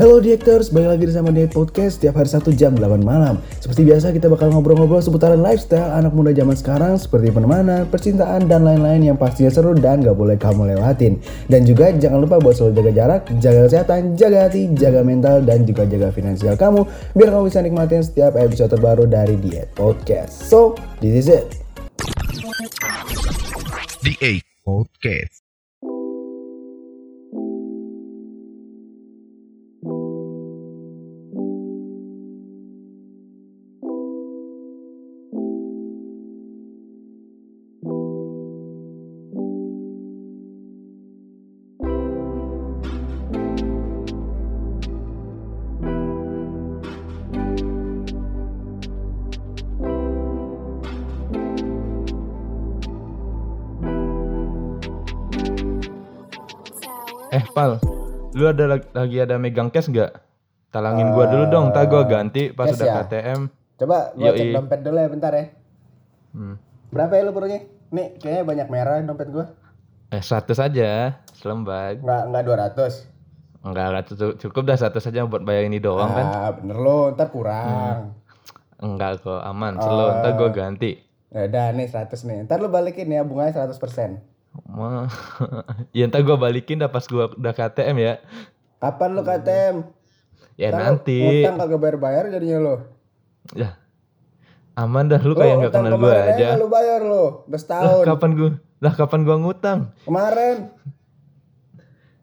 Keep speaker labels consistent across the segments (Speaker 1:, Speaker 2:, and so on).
Speaker 1: Halo Diectors, balik lagi bersama Diet Podcast setiap hari Sabtu jam 8 malam. Seperti biasa kita bakal ngobrol-ngobrol seputaran lifestyle anak muda zaman sekarang seperti penemanan, percintaan, dan lain-lain yang pastinya seru dan gak boleh kamu lewatin. Dan juga jangan lupa buat selalu jaga jarak, jaga kesehatan, jaga hati, jaga mental, dan juga jaga finansial kamu biar kamu bisa nikmatin setiap episode terbaru dari Diet Podcast. So, this is it.
Speaker 2: The Podcast.
Speaker 3: Eh Pal, lu ada lag- lagi ada megang cash nggak? Talangin gua dulu dong, ntar gua ganti pas
Speaker 1: cash
Speaker 3: udah
Speaker 1: ya?
Speaker 3: KTM.
Speaker 1: Coba gua cek
Speaker 3: Yoi.
Speaker 1: dompet dulu ya bentar ya.
Speaker 3: Hmm.
Speaker 1: Berapa ya lu perlunya? Nih, kayaknya banyak merah dompet gua.
Speaker 3: Eh 100 aja, selembar.
Speaker 1: Nggak, nggak 200.
Speaker 3: Enggak, enggak cukup, cukup dah 100 aja buat bayar ini doang kan?
Speaker 1: Ah, bener lo, ntar kurang.
Speaker 3: Enggak kok, aman, slow,
Speaker 1: Ah.
Speaker 3: ntar gua ganti.
Speaker 1: Ya udah nih 100 nih. Ntar lu balikin ya bunganya 100%.
Speaker 3: Ma, ya ntar gua balikin dah pas gua udah KTM ya.
Speaker 1: Kapan lu KTM?
Speaker 3: Ya
Speaker 1: Ntar lu
Speaker 3: Iya. nanti.
Speaker 1: Utang kagak bayar-bayar jadinya lo.
Speaker 3: Ya. Aman dah lu
Speaker 1: Oh,
Speaker 3: kayak nggak kenal gua aja.
Speaker 1: Lu bayar lo, udah
Speaker 3: Lah
Speaker 1: setahun.
Speaker 3: kapan gua? Lah kapan gua ngutang?
Speaker 1: Kemarin.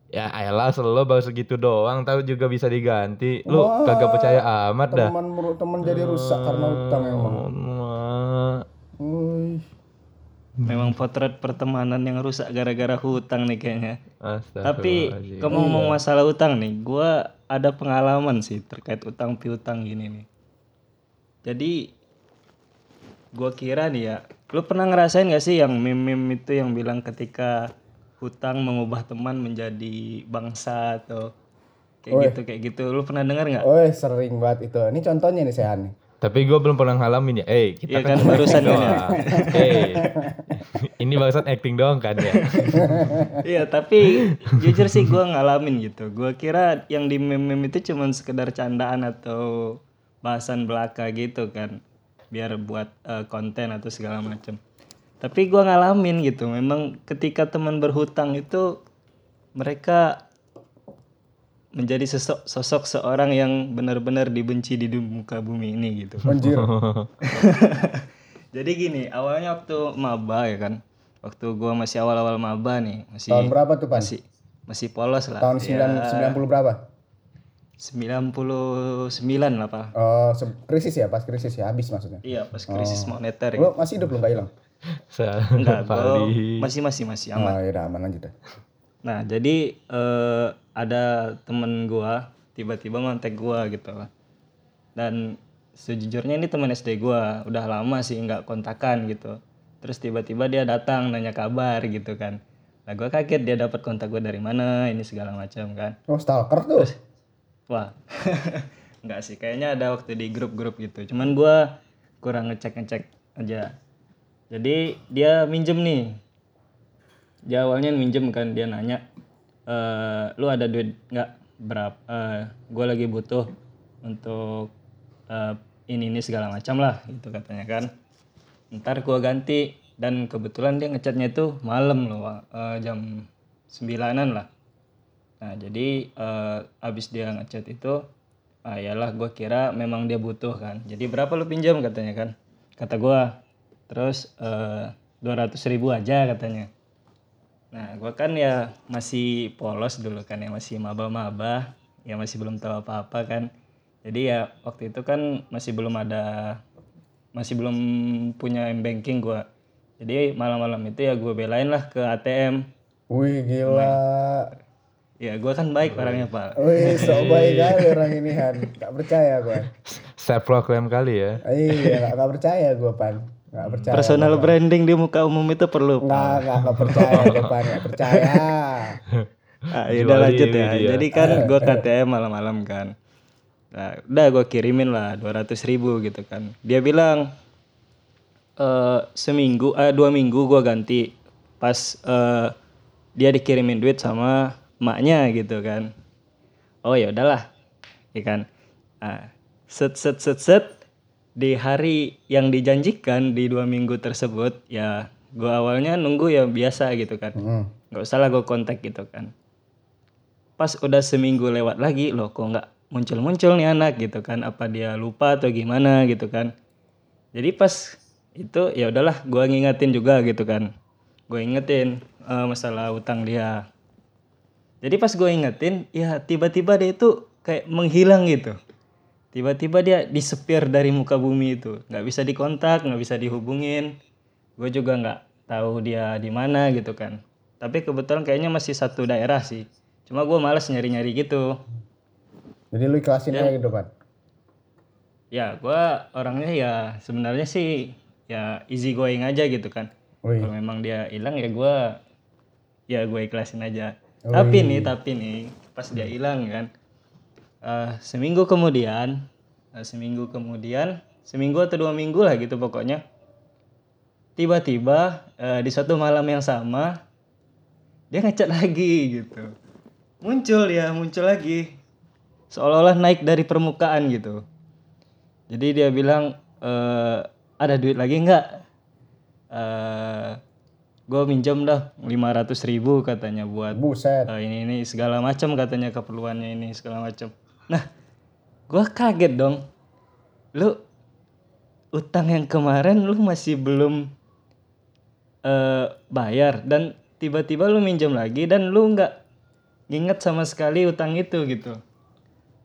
Speaker 3: Ya elah slow baru segitu doang, tahu juga bisa diganti. Lu
Speaker 1: Wah,
Speaker 3: kagak percaya amat dah.
Speaker 1: Teman menurut teman jadi rusak karena utang ya,
Speaker 3: Hmm.
Speaker 1: emang.
Speaker 3: Emak.
Speaker 1: Wih.
Speaker 4: Memang potret pertemanan yang rusak gara-gara hutang nih kayaknya. Tapi
Speaker 3: Astagfirullahaladzim.
Speaker 4: kamu ngomong masalah utang nih, gua ada pengalaman sih terkait utang piutang gini nih. Jadi gua kira nih ya, lu pernah ngerasain gak sih yang meme-meme itu yang bilang ketika hutang mengubah teman menjadi bangsa atau kayak gitu kayak gitu. Lu pernah dengar nggak?
Speaker 1: Wih, sering banget itu. Ini contohnya nih Sehan nih.
Speaker 3: Tapi gue belum pernah ngalamin ya. Eh, kita
Speaker 4: Iya kan, barusan kan ya.
Speaker 3: Eh, ini barusan acting doang kan ya.
Speaker 4: Iya tapi jujur sih gue ngalamin gitu. Gue kira yang di meme itu cuman sekedar candaan atau bahasan belaka gitu kan, biar buat eh, konten atau segala macam. Tapi gue ngalamin gitu. Memang ketika teman berhutang itu mereka menjadi sosok, sosok seorang yang benar-benar dibenci di du- muka bumi ini gitu.
Speaker 1: Anjir.
Speaker 4: Jadi gini, awalnya waktu maba ya kan. Waktu gua masih awal-awal maba nih, masih
Speaker 1: Tahun berapa tuh, Pan?
Speaker 4: masih masih polos lah.
Speaker 1: Tahun
Speaker 4: Ya,
Speaker 1: 9 90 berapa?
Speaker 4: 99 lah, Pak.
Speaker 1: Oh, se- krisis ya, pas krisis ya, habis maksudnya.
Speaker 4: Iya, pas krisis moneter gitu.
Speaker 1: Lu masih hidup lu nggak hilang?
Speaker 4: Enggak,
Speaker 3: Salah
Speaker 4: gua
Speaker 3: Fali.
Speaker 4: masih masih masih aman.
Speaker 1: Oh, ya udah aman lanjut dah.
Speaker 4: Nah, jadi eh, ada temen gua tiba-tiba kontak gua gitu lah. Dan sejujurnya ini teman SD gua, udah lama sih nggak kontakan gitu. Terus tiba-tiba dia datang nanya kabar gitu kan. Nah, gua kaget dia dapat kontak gua dari mana, ini segala macam kan.
Speaker 1: Oh, stalker tuh.
Speaker 4: Wah. nggak sih, kayaknya ada waktu di grup-grup gitu. Cuman gua kurang ngecek-ngecek aja. Jadi dia minjem nih. Dia awalnya minjem kan dia nanya, "Eh, lu ada duit nggak berapa? Eh, gua lagi butuh untuk eh, ini ini segala macam lah gitu katanya kan. Ntar gua ganti dan kebetulan dia ngechatnya itu malam loh, Wak. Eh, jam 9-an lah. Nah, jadi eh, abis dia ngechat itu, ah yalah gue kira memang dia butuh kan. Jadi berapa lu pinjam katanya kan? Kata gua terus eh, dua ratus ribu aja katanya. Nah, gua kan ya masih polos dulu kan ya masih maba-maba, ya masih belum tahu apa-apa kan. Jadi ya waktu itu kan masih belum ada masih belum punya m banking gua. Jadi malam-malam itu ya gue belain lah ke ATM.
Speaker 1: Wih, gila.
Speaker 4: Ya gua kan baik orangnya, Pak.
Speaker 1: Wih, sok baik kali orang ini Han. Gak percaya gue.
Speaker 3: Saya proklaim kali ya.
Speaker 1: Iya, gak, gak percaya gue Pan. Gak percaya.
Speaker 4: Personal branding di muka umum itu perlu.
Speaker 1: Gak, gak, gak percaya gue Pan. Gak percaya.
Speaker 4: Ah, ya udah lanjut ya.
Speaker 3: diri dia.
Speaker 4: Jadi kan gue KTM malam-malam kan. Nah, udah gue kirimin lah 200 ribu gitu kan. Dia bilang eh seminggu, eh dua minggu gue ganti pas eh, dia dikirimin duit sama emaknya gitu kan. Oh ya udahlah, ya kan. Ah, set set set set di hari yang dijanjikan di dua minggu tersebut ya gue awalnya nunggu ya biasa gitu kan.
Speaker 1: Mm.
Speaker 4: Gak usah lah gue kontak gitu kan. Pas udah seminggu lewat lagi loh kok nggak muncul-muncul nih anak gitu kan. Apa dia lupa atau gimana gitu kan. Jadi pas itu ya udahlah gue ngingetin juga gitu kan. Gue ingetin eh, masalah utang dia. Jadi pas gue ingetin ya tiba-tiba dia itu kayak menghilang gitu. Tiba-tiba dia disepir dari muka bumi itu. Nggak bisa dikontak, nggak bisa dihubungin. Gue juga nggak tahu dia di mana gitu kan. Tapi kebetulan kayaknya masih satu daerah sih. Cuma gue males nyari-nyari gitu.
Speaker 1: Jadi lu ikhlasin aja gitu kan.
Speaker 4: Ya gue orangnya ya sebenarnya sih ya easy going aja gitu kan.
Speaker 1: Wih.
Speaker 4: Kalau memang dia hilang ya gue ya gue ikhlasin aja. Tapi nih tapi nih pas dia hilang kan eh, seminggu kemudian eh, seminggu kemudian seminggu atau dua minggu lah gitu pokoknya tiba-tiba eh, di suatu malam yang sama dia ngecat lagi gitu muncul ya muncul lagi seolah-olah naik dari permukaan gitu jadi dia bilang eh ada duit lagi nggak eh gue minjem dah 500.000 ribu katanya buat
Speaker 1: Buset.
Speaker 4: Eh, ini ini segala macam katanya keperluannya ini segala macam. Nah, gua kaget dong. Lu utang yang kemarin lu masih belum eh bayar dan tiba-tiba lu minjem lagi dan lu nggak nginget sama sekali utang itu gitu.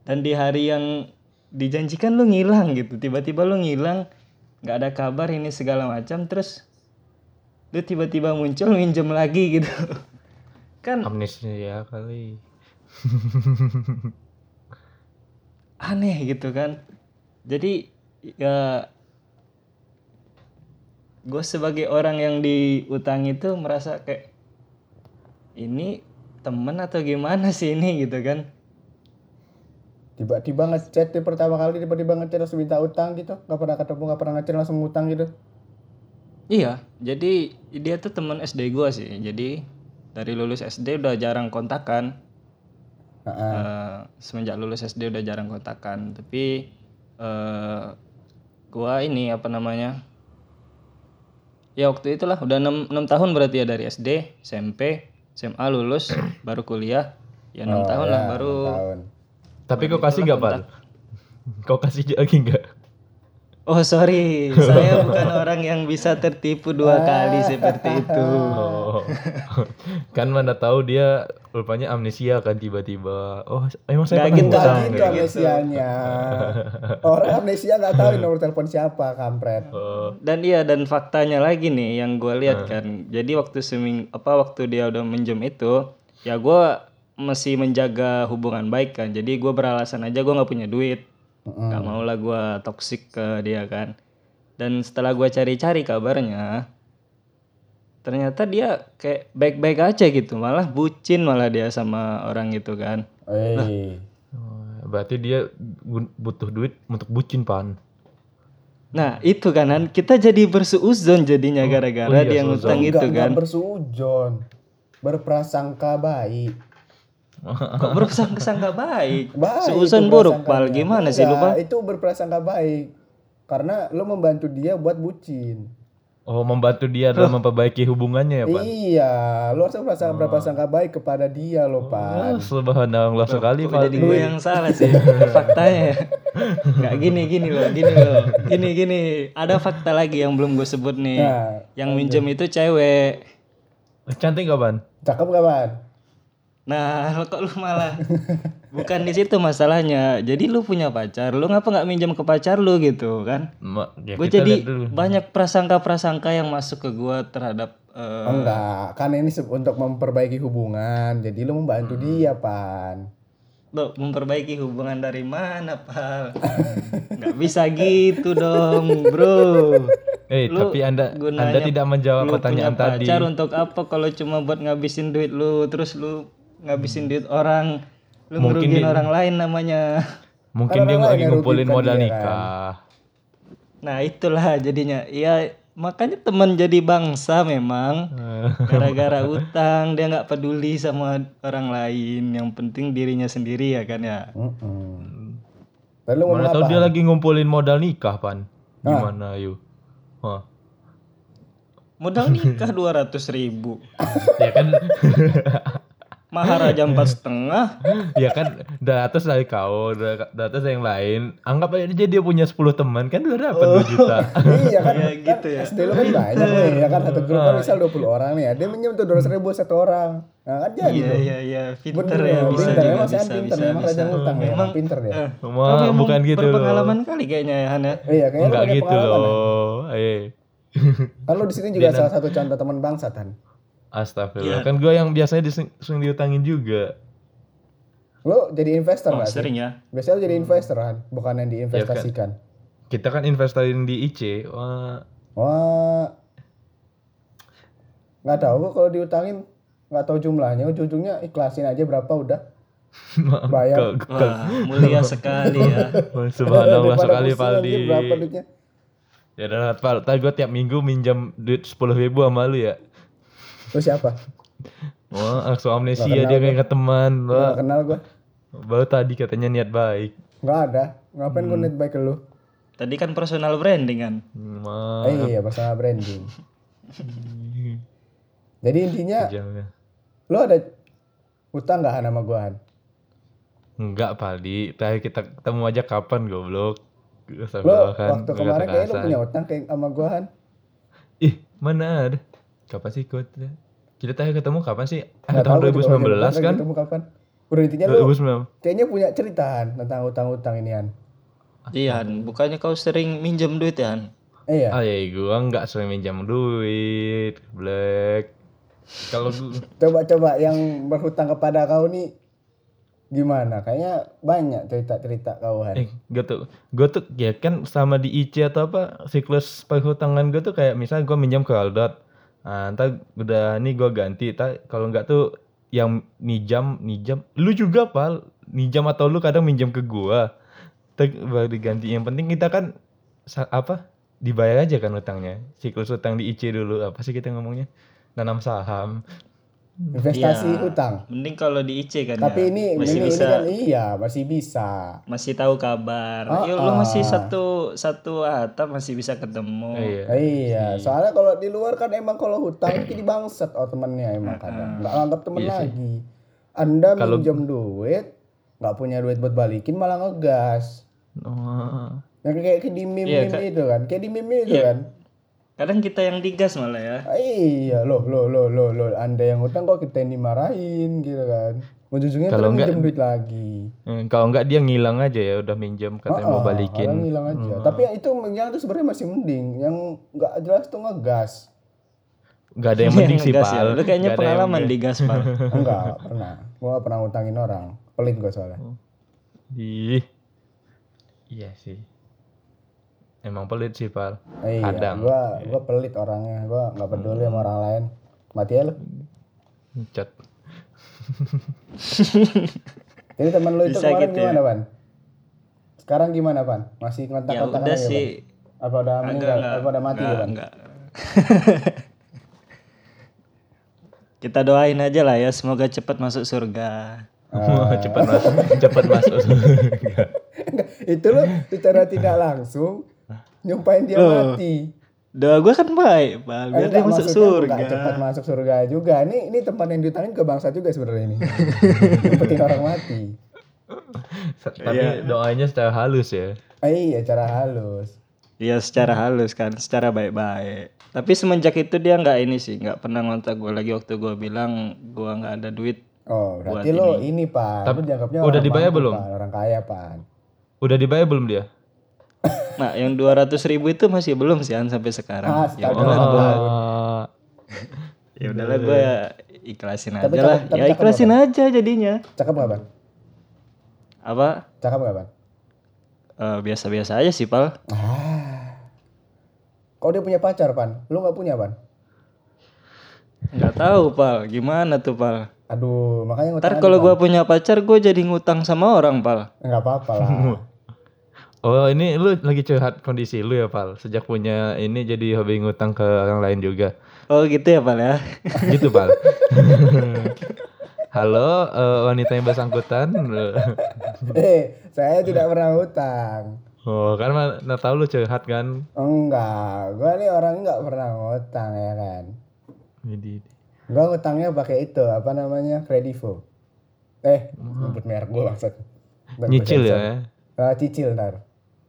Speaker 4: Dan di hari yang dijanjikan lu ngilang gitu, tiba-tiba lu ngilang, nggak ada kabar ini segala macam terus lu tiba-tiba muncul minjem lagi gitu. Kan
Speaker 3: Amnesia kali.
Speaker 4: aneh gitu kan jadi ya gue sebagai orang yang diutang itu merasa kayak ini temen atau gimana sih ini gitu kan
Speaker 1: Tiba-tiba ngechat tuh pertama kali tiba-tiba ngechat langsung minta utang gitu. Gak pernah ketemu, gak pernah ngechat langsung ngutang gitu.
Speaker 4: iya jadi dia tuh temen SD gue sih jadi dari lulus SD udah jarang kontakan
Speaker 1: Heeh.
Speaker 4: Eh, semenjak lulus SD udah jarang kontakan tapi eh gua ini apa namanya ya waktu itulah udah enam enam tahun berarti ya dari SD SMP SMA lulus baru kuliah ya enam tahun lah baru
Speaker 1: Iya, Tahun.
Speaker 3: Tapi kau kasih nggak Pak? Kau kasih lagi nggak?
Speaker 4: oh sorry saya bukan orang yang bisa tertipu dua kali seperti itu
Speaker 3: Oh. kan mana tahu dia rupanya amnesia kan tiba-tiba. Oh, emang saya pernah
Speaker 4: Nggak gitu,
Speaker 1: Nggak
Speaker 3: ngutang,
Speaker 1: gitu
Speaker 3: kayak gitu.
Speaker 1: amnesianya. Orang amnesia nggak tahu nomor telepon siapa, kampret.
Speaker 3: gitu.
Speaker 4: dan iya dan faktanya lagi nih yang gue lihat kan jadi waktu seming apa waktu dia udah minjem itu ya gue masih menjaga hubungan baik kan jadi gue beralasan aja gue nggak punya duit
Speaker 1: Mm-mm.
Speaker 4: nggak mau lah gue toksik ke dia kan dan setelah gue cari-cari kabarnya ternyata dia kayak baik-baik aja gitu malah bucin malah dia sama orang itu kan
Speaker 1: Wih.
Speaker 3: Oh, Berarti dia bu- butuh duit untuk bucin pan.
Speaker 4: nah itu kan Han. kita jadi bersuuzon jadinya gara-gara
Speaker 3: iya,
Speaker 4: dia ngutang
Speaker 1: Nggak-
Speaker 4: itu
Speaker 1: nggak
Speaker 4: kan
Speaker 1: bersujon. Berprasangka baik.
Speaker 4: Kok berprasangka baik?
Speaker 1: Baik. itu
Speaker 4: Seuzon
Speaker 1: Ya,
Speaker 4: buruk,
Speaker 1: prasangkanya.
Speaker 4: Pal. Gimana sih lu,
Speaker 1: Enggak,
Speaker 4: Pal?
Speaker 1: Itu berprasangka baik. Karena lu membantu dia buat bucin.
Speaker 3: Oh, membantu dia dalam memperbaiki hubungannya ya, Pan?
Speaker 1: Iya, lu harus
Speaker 4: Oh.
Speaker 1: merasa berprasangka baik kepada dia loh, Pak.
Speaker 3: Oh, subhanallah sekali,
Speaker 4: Kok
Speaker 3: Pan.
Speaker 4: jadi gue yang salah sih? Faktanya ya. Nggak gini-gini loh, gini loh. Gini-gini. Ada fakta lagi yang belum gue sebut nih.
Speaker 1: Nah,
Speaker 4: yang minjem itu cewek.
Speaker 3: Eh, Cantik gak, Pan?
Speaker 1: Cakep gak, Pan?
Speaker 4: Nah, lo kok lu malah bukan di situ masalahnya. Jadi lu punya pacar, lu ngapa nggak minjem ke pacar lu gitu kan?
Speaker 3: Ma- ya,
Speaker 4: gue
Speaker 3: kita
Speaker 4: jadi
Speaker 3: lihat dulu.
Speaker 4: banyak prasangka-prasangka yang masuk ke gue terhadap eh,
Speaker 1: Enggak, kan ini se- untuk memperbaiki hubungan. Jadi lu
Speaker 4: Hmm.
Speaker 1: membantu dia, Pan.
Speaker 4: Lo memperbaiki hubungan dari mana, Pal? Nggak bisa gitu dong, bro.
Speaker 3: Eh,
Speaker 4: Lu
Speaker 3: tapi Anda Anda
Speaker 4: gunanya
Speaker 3: tidak menjawab
Speaker 4: Lu punya
Speaker 3: pertanyaan tadi.
Speaker 4: pacar untuk apa kalau cuma buat ngabisin duit lu, terus lu ngabisin duit orang, lu
Speaker 3: Mungkin
Speaker 4: ngerugiin
Speaker 3: dia-
Speaker 4: orang lain namanya.
Speaker 3: Mungkin dia
Speaker 1: Orang-orang
Speaker 3: lagi
Speaker 1: yang
Speaker 3: ngumpulin
Speaker 1: rugikan
Speaker 3: modal
Speaker 1: dia kan.
Speaker 3: nikah.
Speaker 4: Nah itulah jadinya. Iya makanya teman jadi bangsa memang.
Speaker 3: Eh,
Speaker 4: Gara-gara utang dia nggak peduli sama orang lain. Yang penting dirinya sendiri ya kan ya.
Speaker 1: Mm-mm. Tadi lu ngomong
Speaker 3: Mana tahu
Speaker 1: apa?
Speaker 3: dia lagi ngumpulin modal nikah, Pan. Gimana, yuk? Hah.
Speaker 4: Modal nikah 200.000 ribu.
Speaker 3: Ya kan,
Speaker 4: Mahar aja empat setengah.
Speaker 3: ya kan, datus dari kau, datus dari yang lain. Anggap aja dia punya 10 teman, kan udah dapet 2 juta.
Speaker 1: iya kan,
Speaker 4: Iya,
Speaker 1: kan
Speaker 4: gitu ya. Ah.
Speaker 1: SD lu kan banyak nih, ya kan satu grup kan misal 20 orang nih, ada minjem tuh 200 ribu satu orang. Nah kan jadi
Speaker 4: Iya
Speaker 1: tuh.
Speaker 4: iya iya. Pinter
Speaker 1: Bener,
Speaker 4: ya bisa
Speaker 1: pinter,
Speaker 4: juga
Speaker 1: emang saya
Speaker 4: bisa
Speaker 1: pinter,
Speaker 4: bisa
Speaker 1: emang
Speaker 4: bisa.
Speaker 1: rajin utang, ya, emang
Speaker 4: Memang
Speaker 1: pinter ya.
Speaker 4: eh,
Speaker 3: Cuma
Speaker 4: kamu emang
Speaker 3: bukan gitu loh.
Speaker 4: Berpengalaman kali kayaknya ya Hana.
Speaker 1: Iya, kayaknya lu
Speaker 3: Enggak
Speaker 1: punya
Speaker 3: gitu
Speaker 1: pengalaman. ya.
Speaker 3: loh. Eh.
Speaker 1: Kan lu di sini juga salah satu contoh teman bangsa Tan.
Speaker 3: Astagfirullah. Kan gue yang biasanya diseng- sering diutangin juga.
Speaker 1: Lu jadi investor
Speaker 4: Oh,
Speaker 1: nggak sih?
Speaker 4: sering Iya, ya.
Speaker 1: Biasanya lu jadi investor kan, bukan yang diinvestasikan.
Speaker 3: Kita kan investasiin di IC. Wah,
Speaker 4: kan.
Speaker 1: Wah. Nggak tahu gua kalau diutangin nggak tahu jumlahnya, ujung-ujungnya ikhlasin aja berapa udah. Bayar.
Speaker 3: ke- ke-
Speaker 4: Wah, mulia sekali ya.
Speaker 1: Daripada
Speaker 3: Subhanallah sekali
Speaker 1: pusing,
Speaker 3: Valdi.
Speaker 1: anjir, Berapa duitnya?
Speaker 3: Ya udah Val, tadi gue tiap minggu minjam duit 10 ribu sama lu ya.
Speaker 1: Lu siapa?
Speaker 3: Wah, aku amnesia
Speaker 1: Nggak kenal
Speaker 3: dia kayak ke teman.
Speaker 1: Gua
Speaker 3: Wah,
Speaker 1: nggak kenal gua.
Speaker 3: baru tadi katanya niat baik.
Speaker 1: Nggak ada. Ngapain
Speaker 3: Hmm.
Speaker 1: gua net baik ke lu?
Speaker 4: Tadi kan personal branding kan.
Speaker 3: Wah,
Speaker 1: Eh, iya, personal branding. Jadi intinya
Speaker 3: jamnya.
Speaker 1: lu ada utang nggak Han sama gua Han?
Speaker 3: Enggak, Valdi. Terakhir kita ketemu aja kapan, goblok.
Speaker 1: Lu
Speaker 3: Astagfirullah, kan,
Speaker 1: waktu
Speaker 3: gua
Speaker 1: kemarin kayaknya lu
Speaker 3: kata-kata.
Speaker 1: punya utang kayak sama gua Han.
Speaker 3: Ih, mana ada? Kapan sih ikut? Kita terakhir ketemu kapan sih? Ah,
Speaker 1: Nggak
Speaker 3: tahun
Speaker 1: tahu gitu. gua juga punya
Speaker 3: 2019
Speaker 1: utang,
Speaker 3: kan?
Speaker 1: ketemu kapan? Udah intinya lu
Speaker 3: 2019.
Speaker 1: kayaknya punya cerita Han tentang utang-utang ini Han.
Speaker 4: Iya, Han. bukannya kau sering minjem duit ya? Han?
Speaker 1: Eh, Iya.
Speaker 3: Ah, ya gua enggak sering minjam duit, black. Kalau gua
Speaker 1: Coba-coba yang berhutang kepada kau nih gimana? Kayaknya banyak cerita-cerita kau Han.
Speaker 3: eh gua tuh gua tuh ya kan sama di IC atau apa siklus perhutangan gua tuh kayak misalnya gua minjam ke Aldot. Ah, ntar udah nih gua ganti. Ta, kalau enggak tuh yang nijam, nijam. Lu juga, Pal. Nijam atau lu kadang minjam ke gua. Ntar baru diganti. Yang penting kita kan sa- apa? Dibayar aja kan utangnya. Siklus utang di IC dulu. Apa sih kita ngomongnya? Nanam saham.
Speaker 1: Investasi
Speaker 4: Iya.
Speaker 1: utang.
Speaker 4: Mending kalau di IC kan
Speaker 1: Tapi
Speaker 4: ya.
Speaker 1: ini
Speaker 4: masih
Speaker 1: ini, ini
Speaker 4: bisa
Speaker 1: kan iya, masih bisa.
Speaker 4: masih tahu kabar.
Speaker 1: Ah,
Speaker 4: Yuk, lo masih
Speaker 1: ah.
Speaker 4: satu satu atap masih bisa ketemu.
Speaker 3: Iya.
Speaker 1: Oh, Iya, soalnya kalau di luar kan emang kalau hutang jadi bangset oh temennya emang kadang nggak anggap temen
Speaker 3: Iya sih.
Speaker 1: lagi. Anda
Speaker 3: Kalau-
Speaker 1: minjem duit, nggak punya duit buat balikin malah ngegas.
Speaker 3: Oh.
Speaker 1: Yang kayak kayak di meme,
Speaker 4: Iya,
Speaker 1: meme
Speaker 4: Kak.
Speaker 1: itu kan, kayak di meme itu
Speaker 4: Iya.
Speaker 1: kan.
Speaker 4: Kadang kita yang digas malah ya.
Speaker 1: Ah, Iya, loh, loh, loh, loh, loh, Anda yang hutang kok kita yang dimarahin gitu kan. Ujung-ujungnya
Speaker 3: Kalau
Speaker 1: kalau
Speaker 3: nggak-
Speaker 1: minjem duit lagi.
Speaker 3: Hmm, kalau enggak dia ngilang aja ya udah minjem katanya
Speaker 1: Ah,
Speaker 3: mau
Speaker 1: Orang
Speaker 3: balikin. Hmm.
Speaker 1: hilang aja. Tapi yang itu yang itu sebenarnya masih mending, yang nggak jelas tuh ngegas.
Speaker 3: Enggak ada yang penting sih,
Speaker 4: Ngegas ya.
Speaker 3: Pal.
Speaker 4: Lu kayaknya
Speaker 3: Nggak ada yang-
Speaker 4: pengalaman digas, Pal.
Speaker 1: Enggak, pernah. Gua nggak pernah ngutangin orang. Pelit gua soalnya.
Speaker 3: Ih. Iya sih. Emang pelit sih, Pal.
Speaker 1: Iya,
Speaker 3: Kadang.
Speaker 1: gua gua pelit orangnya, gua nggak peduli sama orang lain. Mati ya lu.
Speaker 3: Cat.
Speaker 1: Jadi teman lu itu
Speaker 4: Bisa
Speaker 1: kemarin
Speaker 4: gitu ya.
Speaker 1: gimana, Pan? Sekarang gimana, Pan? Masih
Speaker 4: ya
Speaker 1: kontak-kontak
Speaker 4: udah
Speaker 1: lagi,
Speaker 4: sih.
Speaker 1: Pan? Apa udah meninggal? Apa udah mati,
Speaker 4: enggak,
Speaker 1: Pan?
Speaker 4: enggak. Kita doain aja lah ya, semoga cepat masuk surga. Ah.
Speaker 3: Wah, cepat masuk, cepat masuk.
Speaker 1: Enggak, itu lu secara tidak langsung nyumpahin dia mati.
Speaker 4: Doa gue kan baik, Pal. Biar
Speaker 1: Enggak, Eh,
Speaker 4: dia masuk
Speaker 1: maksudnya bukan
Speaker 4: surga.
Speaker 1: cepat masuk surga juga. Ini ini tempat yang diutangin ke bangsa juga sebenarnya ini. Nyumpetin orang mati.
Speaker 3: Tapi
Speaker 4: Iya.
Speaker 3: doanya secara halus ya.
Speaker 1: Ah, iya, cara halus.
Speaker 4: Iya secara halus kan, secara baik-baik. Tapi semenjak itu dia nggak ini sih, nggak pernah ngontak gue lagi waktu gue bilang gue nggak ada duit.
Speaker 1: Oh, berarti lu ini, Pan. Lu dianggapnya
Speaker 3: udah
Speaker 1: orang
Speaker 3: dibayar
Speaker 1: mampu,
Speaker 3: belum?
Speaker 1: Pan. Orang kaya, Pan.
Speaker 3: Udah dibayar belum dia?
Speaker 4: Nah yang 200 ribu itu masih belum sih Han, sampai sekarang.
Speaker 1: Astaga.
Speaker 4: Ya
Speaker 3: Oh,
Speaker 4: udahlah gue,
Speaker 3: Ah,
Speaker 4: ya udahlah gue ikhlasin aja
Speaker 1: Tapi
Speaker 4: lah.
Speaker 1: cakep- tapi
Speaker 4: Ya
Speaker 1: cakep
Speaker 4: ikhlasin aja jadinya.
Speaker 1: Cakep gak, Pan?
Speaker 4: Apa?
Speaker 1: Cakep gak, Pan?
Speaker 4: Eh, Biasa-biasa aja sih Pal.
Speaker 1: Ah. Kok dia punya pacar, Pan? Lu nggak punya, Pan?
Speaker 4: Nggak tahu Pal, gimana tuh Pal?
Speaker 1: Aduh, makanya ngutang
Speaker 4: Ntar kalau gua punya pacar, gua jadi ngutang sama orang, Pal.
Speaker 1: nggak apa-apa lah.
Speaker 3: Oh ini lu lagi curhat kondisi lu ya Pal Sejak punya ini jadi hobi ngutang ke orang lain juga
Speaker 4: Oh gitu ya, Pal ya.
Speaker 3: Gitu Pal Halo eh, wanita yang bersangkutan
Speaker 1: eh, saya tidak pernah utang.
Speaker 3: Oh kan mana tahu lu curhat kan
Speaker 1: Enggak, gua nih orang nggak pernah ngutang ya kan.
Speaker 3: Jadi
Speaker 1: Gua ngutangnya pakai itu, apa namanya? Kredivo. Eh, nyebut merek gua maksud. Ntar gua
Speaker 3: Nyicil
Speaker 1: sensor.
Speaker 3: ya
Speaker 1: Ah, cicil ntar.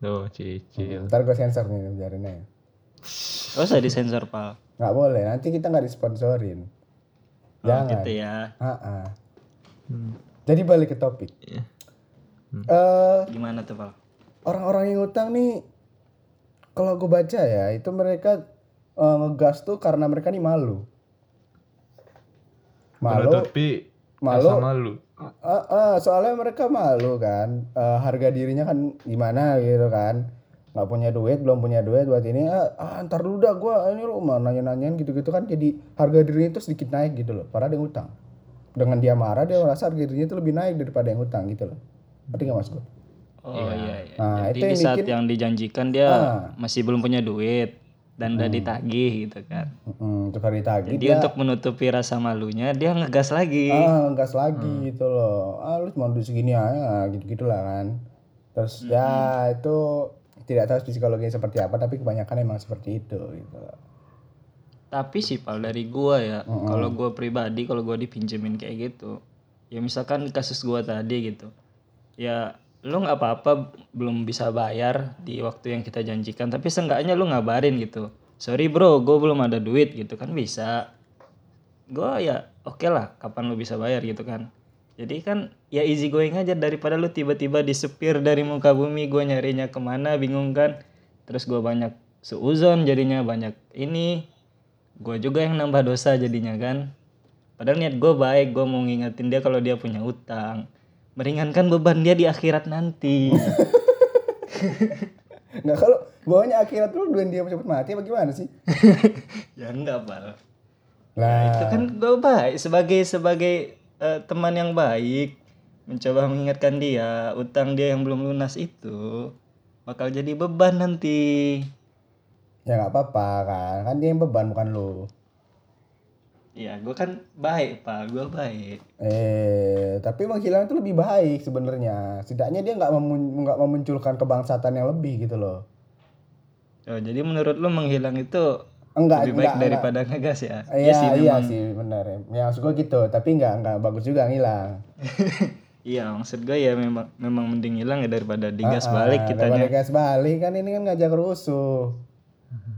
Speaker 3: Oh cicil
Speaker 1: Ntar gua sensor nih biarin aja.
Speaker 4: Gak usah disensor, Pal.
Speaker 1: Nggak boleh, nanti kita nggak disponsorin.
Speaker 4: Oh,
Speaker 1: Jangan.
Speaker 4: gitu ya.
Speaker 1: Ah, ah.
Speaker 3: Hmm.
Speaker 1: Jadi balik ke topik. Eh,
Speaker 3: Iya.
Speaker 4: Gimana tuh, Pal?
Speaker 1: orang-orang yang utang nih kalau gue baca ya, itu mereka eh, ngegas tuh karena mereka nih malu. Malu,
Speaker 3: Menutupi
Speaker 1: malu.
Speaker 3: rasa malu
Speaker 1: eh, eh, soalnya mereka malu kan. Eh, harga dirinya kan gimana gitu kan. nggak punya duit, belum punya duit buat ini. eh, Ah, antar dulu dah gua ini rumah nanya-nanyain gitu-gitu kan jadi harga dirinya itu sedikit naik gitu loh. Padahal dia ngutang. Dengan dia marah dia merasa harga dirinya itu lebih naik daripada yang utang gitu loh. Ngerti nggak mas gue?
Speaker 4: Oh iya, iya.
Speaker 1: Nah,
Speaker 4: Jadi
Speaker 1: itu yang
Speaker 4: di saat
Speaker 1: bikin-
Speaker 4: yang dijanjikan dia
Speaker 1: Ah.
Speaker 4: masih belum punya duit dan udah ditagih gitu kan.
Speaker 1: Hmm, tukar ditagih
Speaker 4: Jadi
Speaker 1: dia
Speaker 4: untuk menutupi rasa malunya dia ngegas lagi.
Speaker 1: ah gas lagi gitu loh ah lu cuma duduk segini aja gitu gitulah kan terus ya itu tidak tahu psikologinya seperti apa tapi kebanyakan emang seperti itu gitu loh.
Speaker 4: Tapi sih pal dari gua ya, kalau gua pribadi kalau gua dipinjemin kayak gitu, ya misalkan kasus gua tadi gitu, ya lu nggak apa-apa belum bisa bayar di waktu yang kita janjikan, tapi seenggaknya lu ngabarin gitu, sorry bro, gua belum ada duit gitu kan bisa, gua ya oke lah, kapan lu bisa bayar gitu kan. Jadi kan ya easy going aja daripada lu tiba-tiba disepir dari muka bumi gua nyarinya kemana bingung kan. Terus gua banyak seuzon jadinya banyak ini. Gua juga yang nambah dosa jadinya kan. Padahal niat gua baik, gua mau ngingetin dia kalau dia punya utang. Meringankan beban dia di akhirat nanti.
Speaker 1: nah kalau bawahnya akhirat lu duit dia cepet mati apa gimana sih
Speaker 4: ya enggak, Pal.
Speaker 1: lah
Speaker 4: Itu kan gue baik sebagai sebagai eh, teman yang baik mencoba mengingatkan dia utang dia yang belum lunas itu bakal jadi beban nanti.
Speaker 1: ya nggak apa-apa kan kan dia yang beban bukan lu
Speaker 4: Ya gue kan baik pak, gue baik.
Speaker 1: eh tapi menghilang itu lebih baik sebenarnya setidaknya dia nggak memun- nggak memunculkan kebangsatan yang lebih gitu loh
Speaker 4: Oh, jadi menurut lu menghilang itu
Speaker 1: enggak
Speaker 4: lebih baik
Speaker 1: enggak, enggak.
Speaker 4: daripada ngegas ya?
Speaker 1: Iya,
Speaker 4: sih,
Speaker 1: iya
Speaker 4: memang.
Speaker 1: sih benar. ya. Ya maksud gua gitu, tapi nggak nggak bagus juga ngilang.
Speaker 4: Iya maksud gue ya memang memang mending hilang ya daripada digas
Speaker 1: Ah,
Speaker 4: balik
Speaker 1: daripada
Speaker 4: kitanya.
Speaker 1: gas balik kan ini kan ngajak rusuh.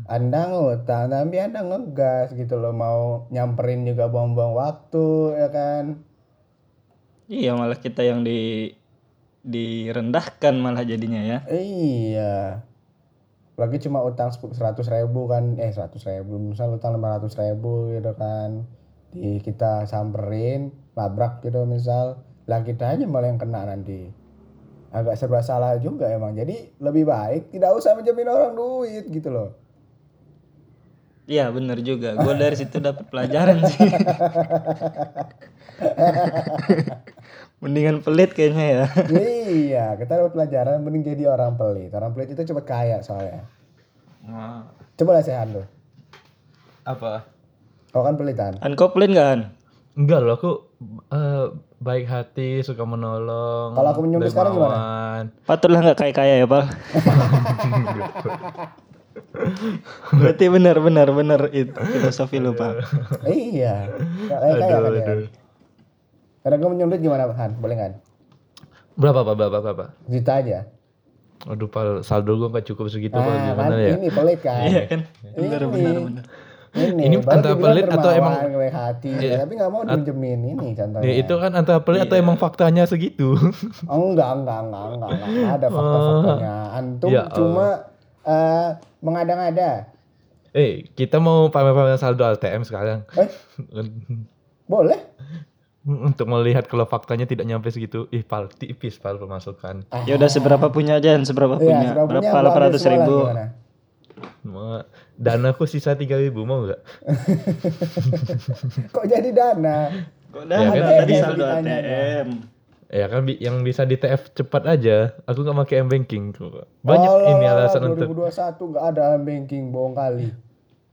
Speaker 1: Anda ngutang tapi Anda ngegas gitu loh mau nyamperin juga buang-buang waktu ya kan.
Speaker 4: Iya malah kita yang di direndahkan malah jadinya ya.
Speaker 1: Iya. Lagi cuma utang sepu- 100 ribu kan, eh 100 ribu, misal utang 500 ribu gitu kan. Di kita samperin, labrak gitu misal. Lah kita aja malah yang kena nanti. Agak serba salah juga emang. Jadi lebih baik tidak usah menjamin orang duit gitu loh.
Speaker 4: Iya bener juga. Gue dari situ dapat pelajaran sih. Mendingan pelit kayaknya ya.
Speaker 1: iya, kita dapat pelajaran mending jadi orang pelit. Orang pelit itu cepat kaya soalnya.
Speaker 3: Wah,
Speaker 1: Coba lesehan tuh.
Speaker 3: Apa?
Speaker 1: Kau kan pelitan.
Speaker 4: Kan kau pelit nggak, An?
Speaker 3: Enggak loh aku eh, baik hati suka menolong
Speaker 1: Kalau aku minjem lu sekarang gimana?
Speaker 3: dermawan.
Speaker 4: Patutlah nggak kayak kaya ya pal. Berarti benar benar benar itu filosofi lu pal.
Speaker 1: iya. Gak kaya kaya kan
Speaker 3: Aduh,
Speaker 1: ya.
Speaker 3: aduh.
Speaker 1: Karena gue menyulit gimana Han? Boleh kan?
Speaker 3: Berapa Pak? Berapa Berapa?
Speaker 1: Cerita aja.
Speaker 3: Aduh pal saldo gua nggak cukup segitu
Speaker 1: Nah,
Speaker 3: pal
Speaker 1: kan
Speaker 3: gimana ya?
Speaker 1: ini pelit kan.
Speaker 4: Iya kan?
Speaker 1: Ini.
Speaker 4: Benar benar
Speaker 1: iya.
Speaker 4: benar.
Speaker 1: Ini,
Speaker 3: Ini
Speaker 1: baru
Speaker 3: antara
Speaker 1: dibilang
Speaker 3: pelit atau
Speaker 1: dermawan,
Speaker 3: emang-
Speaker 1: kebaik hati,
Speaker 3: Iya.
Speaker 1: tapi nggak mau dipinjemin ini contohnya.
Speaker 3: Ya, itu kan antara pelit atau emang faktanya segitu.
Speaker 1: Oh, enggak, enggak, enggak, enggak, enggak, enggak ada fakta-faktanya. Antum
Speaker 3: Ya,
Speaker 1: cuma eh, mengada-ngada.
Speaker 3: eh, kita mau pamer-pamer saldo ATM sekarang.
Speaker 1: Eh, boleh?
Speaker 3: Untuk melihat kalau faktanya tidak nyampe segitu. Ih, pal tipis pal pemasukan.
Speaker 4: Ya udah seberapa punya aja, An? seberapa
Speaker 1: Ah. Iya,
Speaker 4: punya.
Speaker 1: sudah punya,
Speaker 4: Berapa?
Speaker 1: gua ambil
Speaker 4: 800
Speaker 1: semua lah,
Speaker 4: ribu.
Speaker 1: gimana?
Speaker 3: Mau- Dana aku sisa 3000 mau nggak?
Speaker 1: Kok jadi dana?
Speaker 4: Kok dah
Speaker 3: Ya kan?
Speaker 4: ada tadi
Speaker 1: ATM
Speaker 4: saldo
Speaker 1: Iya, ditanya,
Speaker 4: ATM.
Speaker 3: Ya kan bi- yang bisa di TF cepat aja. Aku nggak pakai m banking kok. Banyak ini alasan untuk
Speaker 1: 2021 nggak ada banking bohong kali.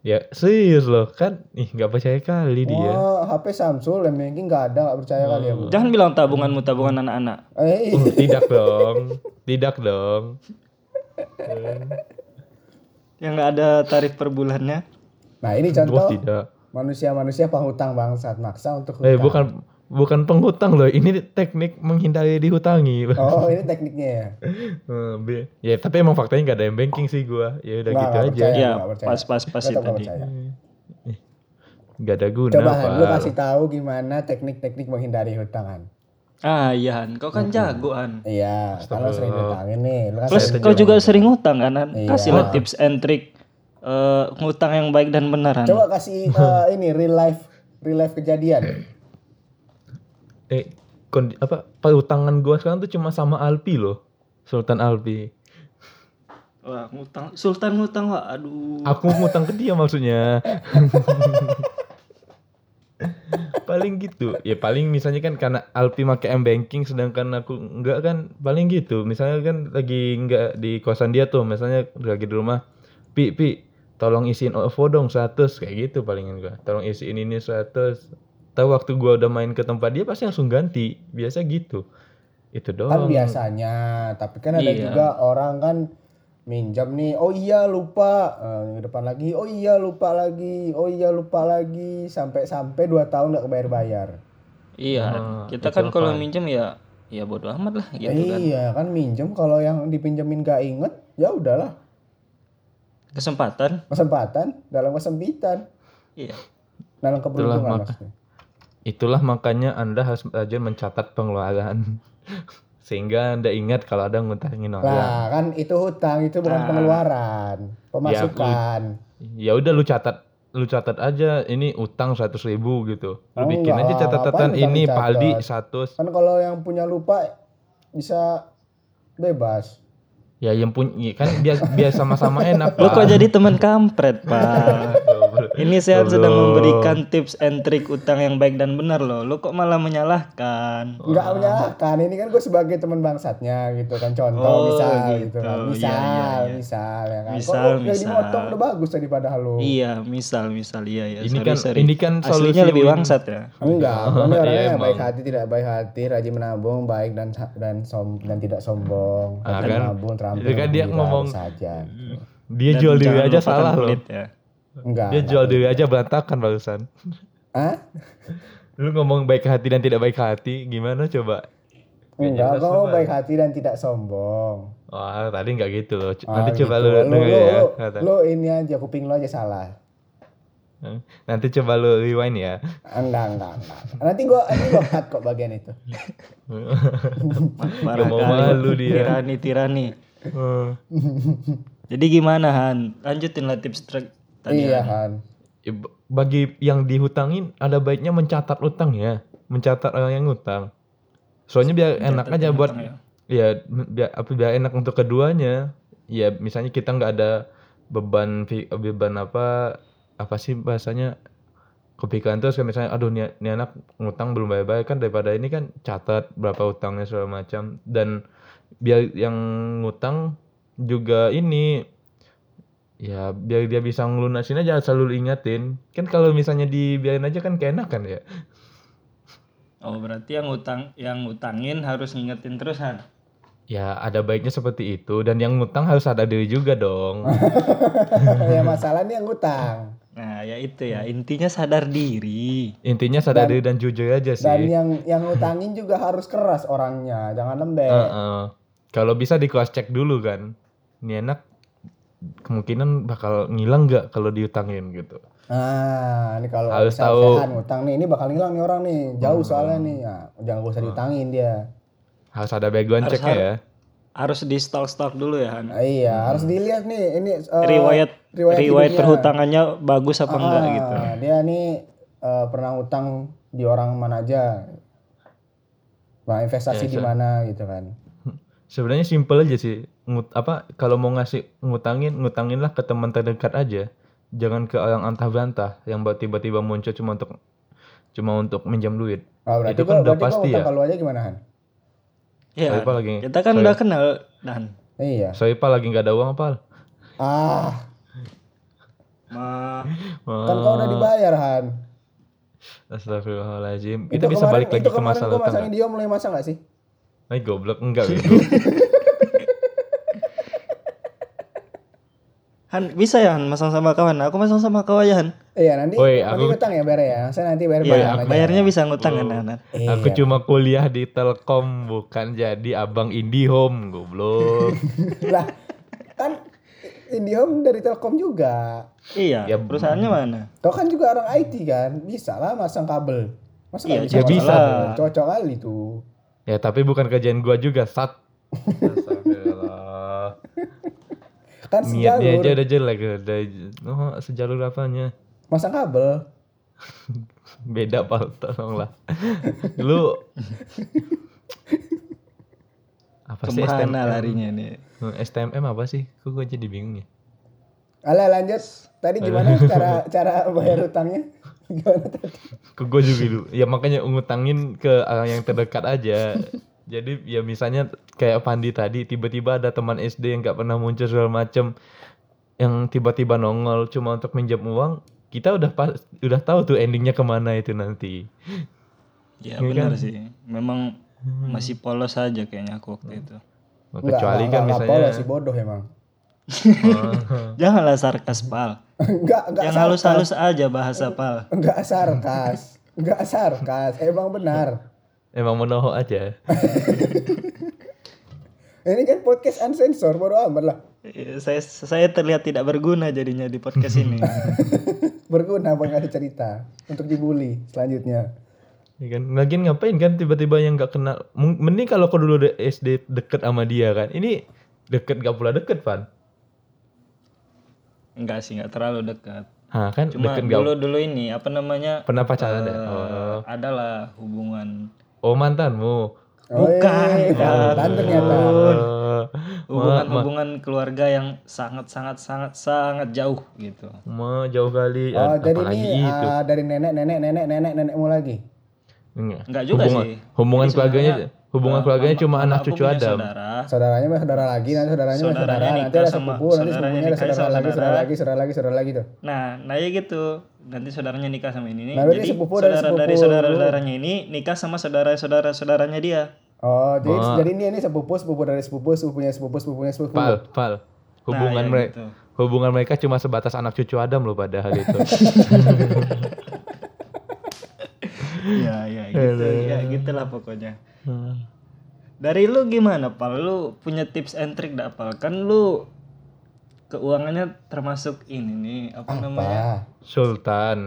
Speaker 3: ya serius loh kan. Ih nggak percaya kali dia. Hmm.
Speaker 1: Wah, HP Oh, Samsung m banking nggak ada, nggak percaya kali ya, Bu.
Speaker 4: Jangan bilang tabunganmu tabungan anak-anak.
Speaker 1: Eh, ih.
Speaker 3: Uh, tidak dong, tidak dong.
Speaker 4: Yang nggak ada tarif per bulannya.
Speaker 1: nah ini
Speaker 3: Wah
Speaker 1: contoh
Speaker 3: tidak.
Speaker 1: manusia-manusia penghutang bangsat maksa untuk hutang.
Speaker 3: Eh bukan bukan penghutang loh. Ini teknik menghindari dihutangi.
Speaker 1: Oh, ini tekniknya ya.
Speaker 3: Eh, B. Ya tapi emang faktanya nggak ada yang banking sih gua. Ya
Speaker 1: Nggak,
Speaker 3: udah gitu
Speaker 1: nggak
Speaker 3: aja.
Speaker 1: percaya.
Speaker 4: Ya,
Speaker 1: Iya, nggak percaya.
Speaker 4: pas-pas-pas itu
Speaker 1: Tetap nggak
Speaker 4: tadi.
Speaker 1: percaya.
Speaker 3: Nggak ada guna.
Speaker 1: Coba Han, lu
Speaker 3: Pak.
Speaker 1: kasih tahu gimana teknik-teknik menghindari hutangan.
Speaker 4: Ah, iya Han, kau kan jagoan.
Speaker 1: Iya, kalau sering hutangin nih, lu kan
Speaker 4: Plus
Speaker 1: sering-
Speaker 4: kau juga sering ngutang kan? Han?
Speaker 1: Iya.
Speaker 4: Kasihlah tips and trick eh, ngutang yang baik dan benar. Han.
Speaker 1: coba kasih eh, ini real life real life kejadian.
Speaker 3: eh kondi, apa perutangan gua sekarang tuh cuma sama Alpi loh Sultan Alpi
Speaker 4: Wah, ngutang Sultan ngutang wah, aduh.
Speaker 3: aku ngutang ke dia maksudnya paling gitu ya paling misalnya kan karena Alpi pakai M banking sedangkan aku enggak kan paling gitu misalnya kan lagi enggak di kosan dia tuh misalnya lagi di rumah pi pi tolong isiin OVO dong 100 kayak gitu palingan gua tolong isiin ini 100 tahu waktu gua udah main ke tempat dia pasti langsung ganti biasa gitu itu
Speaker 1: kan
Speaker 3: doang
Speaker 1: biasanya tapi kan ada
Speaker 4: Iya.
Speaker 1: juga orang kan minjam nih oh iya lupa Eh, minggu depan lagi oh iya lupa lagi oh iya lupa lagi sampai sampai dua tahun nggak kebayar bayar
Speaker 4: Iya, Han.
Speaker 3: Ah, itu
Speaker 4: kita kan kalau
Speaker 3: apaan?
Speaker 4: minjem ya ya bodo amat lah gitu kan.
Speaker 1: iya kan minjem kalau yang dipinjemin gak inget ya udahlah
Speaker 4: Kesempatan.
Speaker 1: kesempatan dalam kesempitan
Speaker 4: Iya.
Speaker 1: dalam keberuntungan
Speaker 3: maka-
Speaker 1: maksudnya
Speaker 3: Itulah makanya Anda harus belajar mencatat pengeluaran. Sehingga Anda ingat kalau ada ngutangin orang.
Speaker 1: lah kan itu hutang itu bukan
Speaker 4: Ah.
Speaker 1: pengeluaran pemasukan
Speaker 3: Ya udah lu catat lu catat aja ini utang 100 ribu gitu.
Speaker 1: Oh,
Speaker 3: Lu bikin
Speaker 1: enggak
Speaker 3: aja
Speaker 1: lah,
Speaker 3: catatan
Speaker 1: ngapain
Speaker 3: ini
Speaker 1: utang
Speaker 3: Pak Aldi
Speaker 1: dicatat?
Speaker 3: 100.
Speaker 1: kan kalau yang punya lupa bisa bebas
Speaker 3: Ya yang punya kan biar biar sama-sama enak.
Speaker 4: Lu kok
Speaker 3: Pak.
Speaker 4: jadi teman kampret, Pak? Ini saya sedang
Speaker 3: Goblok.
Speaker 4: memberikan tips and trick utang yang baik dan benar loh. Lu kok malah menyalahkan?
Speaker 1: nggak menyalahkan ini kan gue sebagai teman bangsatnya gitu kan contoh
Speaker 4: Oh,
Speaker 1: misal gitu,
Speaker 4: gitu.
Speaker 1: kan
Speaker 4: Iya,
Speaker 1: misal
Speaker 4: iya, iya.
Speaker 1: misal ya kan
Speaker 4: Misal,
Speaker 1: Kok lu yang
Speaker 4: misal.
Speaker 1: dimotong udah bagus tadi padahal lu
Speaker 4: Iya, misal misal iya ya.
Speaker 3: Oh. Ini
Speaker 4: Sorry,
Speaker 3: kan-
Speaker 4: sorry.
Speaker 3: ini kan solusi
Speaker 4: Aslinya lebih
Speaker 3: win-
Speaker 4: bangsat ya.
Speaker 1: enggak gue ini
Speaker 3: Iya,
Speaker 1: orangnya
Speaker 3: emang.
Speaker 1: baik hati tidak baik hati rajin menabung baik dan dan som dan tidak sombong
Speaker 3: Ah,
Speaker 1: rajin
Speaker 3: kan?
Speaker 1: menabung terampil
Speaker 3: Itu kan dia
Speaker 1: gembira,
Speaker 3: ngomong-
Speaker 1: saja
Speaker 3: Dia
Speaker 4: Dan
Speaker 3: jual diri
Speaker 4: jangan
Speaker 3: aja
Speaker 4: lupakan
Speaker 3: salah loh.
Speaker 4: kulit ya.
Speaker 1: enggak
Speaker 3: Dia
Speaker 1: enggak.
Speaker 3: jual diri aja berantakan barusan.
Speaker 1: Hah?
Speaker 3: Lu ngomong baik hati dan tidak baik hati gimana coba?
Speaker 1: enggak
Speaker 3: Iya,
Speaker 1: gue
Speaker 3: jelas lu,
Speaker 1: ngomong
Speaker 3: Bang.
Speaker 1: baik hati dan tidak sombong
Speaker 3: Wah, tadi nggak gitu loh. C-
Speaker 1: Ah,
Speaker 3: Nanti coba
Speaker 1: gitu.
Speaker 3: lu
Speaker 1: lu,
Speaker 3: denger
Speaker 1: lu,
Speaker 3: ya.
Speaker 1: lu,
Speaker 3: kata.
Speaker 1: lu ini aja kuping lu aja salah
Speaker 3: Nanti coba lu rewind ya.
Speaker 1: enggak enggak enggak nanti gue nanti gue cut kok bagian itu
Speaker 4: Parah
Speaker 3: mau
Speaker 4: kali.
Speaker 3: malu dia.
Speaker 4: Tirani tirani.
Speaker 1: Ah.
Speaker 3: Eh,
Speaker 4: Jadi gimana Han? Lanjutin lah tips trick tadi.
Speaker 1: iya kan
Speaker 4: Han.
Speaker 3: i- Bagi yang dihutangin ada baiknya mencatat utang ya, mencatat orang yang ngutang. Soalnya biar enak aja buat
Speaker 4: utang ya.
Speaker 3: ya biar apa biar enak untuk keduanya. Ya misalnya kita nggak ada beban fi- beban apa apa sih bahasanya kepikiran terus kayak misalnya aduh ini, ini anak ngutang belum bayar-bayar kan daripada ini kan catat berapa utangnya segala macam dan biar yang ngutang juga ini ya biar dia bisa ngelunasin aja selalu ingatin kan kalau misalnya dibiarin aja kan keenakan ya
Speaker 4: Oh, berarti yang utang yang utangin harus ngingetin terus Han.
Speaker 3: ya ada baiknya seperti itu dan yang ngutang harus ada diri juga dong
Speaker 1: ya masalah nih yang ngutang
Speaker 4: Nah, ya itu ya. Intinya sadar diri.
Speaker 3: intinya sadar diri dan jujur
Speaker 1: dan
Speaker 3: aja Iya
Speaker 1: iya,
Speaker 3: sih
Speaker 1: yang yang ngutangin juga harus keras orangnya jangan lembek
Speaker 3: Heeh. kalau bisa di cross check dulu kan ini anak kemungkinan bakal ngilang nggak kalau diutangin gitu
Speaker 1: nah ini kalau
Speaker 3: Harus
Speaker 1: misal
Speaker 3: tahu. Hmm.
Speaker 1: Sehan ngutang nih ini bakal ngilang nih orang nih jauh soalnya nih ya, jangan gak usah diutangin dia
Speaker 3: harus ada background
Speaker 4: Harus-
Speaker 3: check ya
Speaker 4: Harus di stalk-stalk dulu ya Han.
Speaker 1: Nah, iya
Speaker 3: Hmm.
Speaker 1: harus dilihat nih ini eh,
Speaker 4: Riwayat riwayat,
Speaker 1: hidupnya.
Speaker 4: perhutangannya bagus
Speaker 1: Ah,
Speaker 4: apa enggak gitu.
Speaker 1: dia nih eh, pernah utang di orang mana aja Nah, investasi
Speaker 3: Ya,
Speaker 1: di
Speaker 3: so-
Speaker 1: mana gitu kan
Speaker 3: sebenarnya simple aja sih ngut apa kalau mau ngasih ngutangin ngutanginlah ke teman terdekat aja jangan ke orang antah bantah yang buat tiba-tiba muncul cuma untuk cuma untuk minjam duit.
Speaker 1: Oh, berarti
Speaker 3: Itu kan
Speaker 1: gua-
Speaker 3: udah
Speaker 1: berarti gua
Speaker 3: pasti ya?
Speaker 1: utang ke lu aja gimana Han?
Speaker 4: Ya,
Speaker 3: Soalnya apa lagi?
Speaker 4: kita kan
Speaker 3: Soalnya-
Speaker 4: udah kenal dan
Speaker 1: Iya.
Speaker 3: Soalnya Pal lagi nggak ada uang Pal.
Speaker 1: Ah,
Speaker 4: Ma-
Speaker 1: kan kau
Speaker 3: Ah.
Speaker 1: udah dibayar Han.
Speaker 3: Oh, Astagfirullahaladzim.
Speaker 1: Itu
Speaker 3: Kita bisa
Speaker 1: kemarin-
Speaker 3: balik lagi
Speaker 1: itu
Speaker 3: ke
Speaker 1: kemarin
Speaker 3: masalah
Speaker 1: gua
Speaker 3: utang.
Speaker 1: masangin dia mulai masa nggak sih?
Speaker 3: Ay, goblok enggak gitu. bego.
Speaker 4: Han bisa ya Han masang sama kawan. Aku masang sama kau aja Han.
Speaker 1: Iya nanti
Speaker 3: Woi,
Speaker 1: nanti
Speaker 3: aku-
Speaker 1: utang ya bayar ya. Saya nanti bayar
Speaker 4: Iya,
Speaker 1: bayaran aja.
Speaker 4: bayarnya bisa ngutang kan
Speaker 3: Wow.
Speaker 4: Han. Han?
Speaker 3: Aku
Speaker 1: Iya.
Speaker 3: cuma kuliah di Telkom bukan jadi abang IndiHome, goblok.
Speaker 1: lah kan IndiHome dari Telkom juga.
Speaker 4: Iya.
Speaker 3: Ya,
Speaker 4: perusahaannya mana?
Speaker 1: Kau kan juga orang IT kan, bisa lah masang kabel. Masa nggak
Speaker 4: Iya,
Speaker 1: bisa,
Speaker 3: ya
Speaker 1: masang
Speaker 3: bisa.
Speaker 1: kabel? Cocok kali tuh.
Speaker 3: ya, tapi bukan kerjaan gua juga, sat. Astagfirullah.
Speaker 1: Kan
Speaker 3: Niatnya
Speaker 1: sejalur
Speaker 3: aja udah jelek, udah oh, sejalur apanya.
Speaker 1: masang kabel.
Speaker 3: Beda Pal, tolonglah. Lu apa sih STM?
Speaker 4: Kemana larinya nih?
Speaker 3: STMM apa sih? Kok gue jadi bingung ya?
Speaker 1: Alah lanjut. Tadi gimana cara cara bayar utangnya? Gimana tadi?
Speaker 3: Ke gue juga dulu. Ya makanya ngutangin ke orang yang terdekat aja. Jadi ya misalnya kayak Pandi tadi tiba-tiba ada teman SD yang nggak pernah muncul segala macem yang tiba-tiba nongol cuma untuk minjam uang kita udah pas, udah tahu tuh endingnya kemana itu nanti
Speaker 4: Ya
Speaker 3: Iya kan? Hmm.
Speaker 4: benar sih. Memang masih polos aja kayaknya aku waktu itu.
Speaker 3: Nah, kecuali kan misalnya Oh,
Speaker 1: si bodoh emang.
Speaker 4: Janganlah sarkas pal.
Speaker 1: Enggak, enggak
Speaker 4: Yang
Speaker 1: sarkas.
Speaker 4: halus-halus aja bahasa pal.
Speaker 1: Enggak sarkas. Enggak sarkas. Emang benar.
Speaker 3: emang menohok aja
Speaker 1: Ini kan podcast unsensor, bodo amat lah.
Speaker 4: Iya, Saya saya terlihat tidak berguna jadinya di podcast ini.
Speaker 1: Berguna buat ada cerita untuk dibully selanjutnya.
Speaker 3: Ya kan? Lagian ngapain kan tiba-tiba yang nggak kenal. Mung- Mending kalau kau dulu de- SD deket sama dia kan. Ini deket gak pula deket Pan.
Speaker 4: Enggak sih, enggak terlalu dekat.
Speaker 3: Hah kan
Speaker 4: Cuma
Speaker 3: deket gak
Speaker 4: dulu dulu ini apa namanya?
Speaker 3: pernah pacaran ada.
Speaker 4: eh,
Speaker 3: Oh.
Speaker 4: Adalah hubungan
Speaker 3: Oh, mantanmu.
Speaker 4: Bukan,
Speaker 1: iya,
Speaker 4: bukan.
Speaker 1: Dan ternyata.
Speaker 3: Oh, ma, ma,
Speaker 4: hubungan-hubungan keluarga yang sangat sangat sangat sangat jauh gitu.
Speaker 3: ma, jauh kali.
Speaker 4: Iya,
Speaker 1: Oh,
Speaker 3: Ah,
Speaker 1: jadi
Speaker 3: Apalagi
Speaker 1: ini
Speaker 3: itu.
Speaker 1: ah, dari nenek, nenek, nenek, nenek, nenekmu lagi.
Speaker 3: Enggak.
Speaker 4: Enggak juga
Speaker 3: hubungan,
Speaker 4: sih.
Speaker 3: Hubungan
Speaker 4: Jadi
Speaker 3: keluarganya
Speaker 4: sebenarnya,
Speaker 3: hubungan
Speaker 4: eh,
Speaker 3: keluarganya
Speaker 4: mama-
Speaker 3: cuma
Speaker 4: mama
Speaker 3: anak
Speaker 4: aku
Speaker 3: cucu
Speaker 4: punya
Speaker 3: Adam.
Speaker 4: Saudara.
Speaker 1: Saudaranya mah saudara lagi, nanti saudaranya mah
Speaker 4: Saudaranya
Speaker 1: saudara, nanti
Speaker 4: nikah
Speaker 1: ada
Speaker 4: sama-
Speaker 1: sepupu, nanti
Speaker 4: saudaranya
Speaker 1: sepupunya ada
Speaker 4: nikah
Speaker 1: saudara
Speaker 4: sama
Speaker 1: lagi, saudara
Speaker 4: saudara.
Speaker 1: lagi, saudara lagi, saudara lagi tuh.
Speaker 4: Nah, nah ya gitu. Nanti saudaranya nikah sama ini nih.
Speaker 1: Nah, berarti
Speaker 4: Jadi
Speaker 1: sepupu dari
Speaker 4: saudara dari
Speaker 1: sepupu.
Speaker 4: saudara-saudaranya ini nikah sama saudara-saudara saudaranya dia.
Speaker 1: Oh, jadi, jadi ini ini sepupu, sepupu dari sepupu, sepupunya sepupu, sepupunya sepupu.
Speaker 3: Pal, pal. Hubungan
Speaker 4: ya
Speaker 3: mereka
Speaker 4: gitu.
Speaker 3: hubungan mereka cuma sebatas anak cucu Adam loh padahal itu.
Speaker 4: Iya, iya gitu. Ya gitulah pokoknya. Dari lu gimana, Pal? Lu punya tips and trick enggak, Pal? Kan lu keuangannya termasuk ini nih, apa namanya?
Speaker 1: Apa?
Speaker 3: Sultan.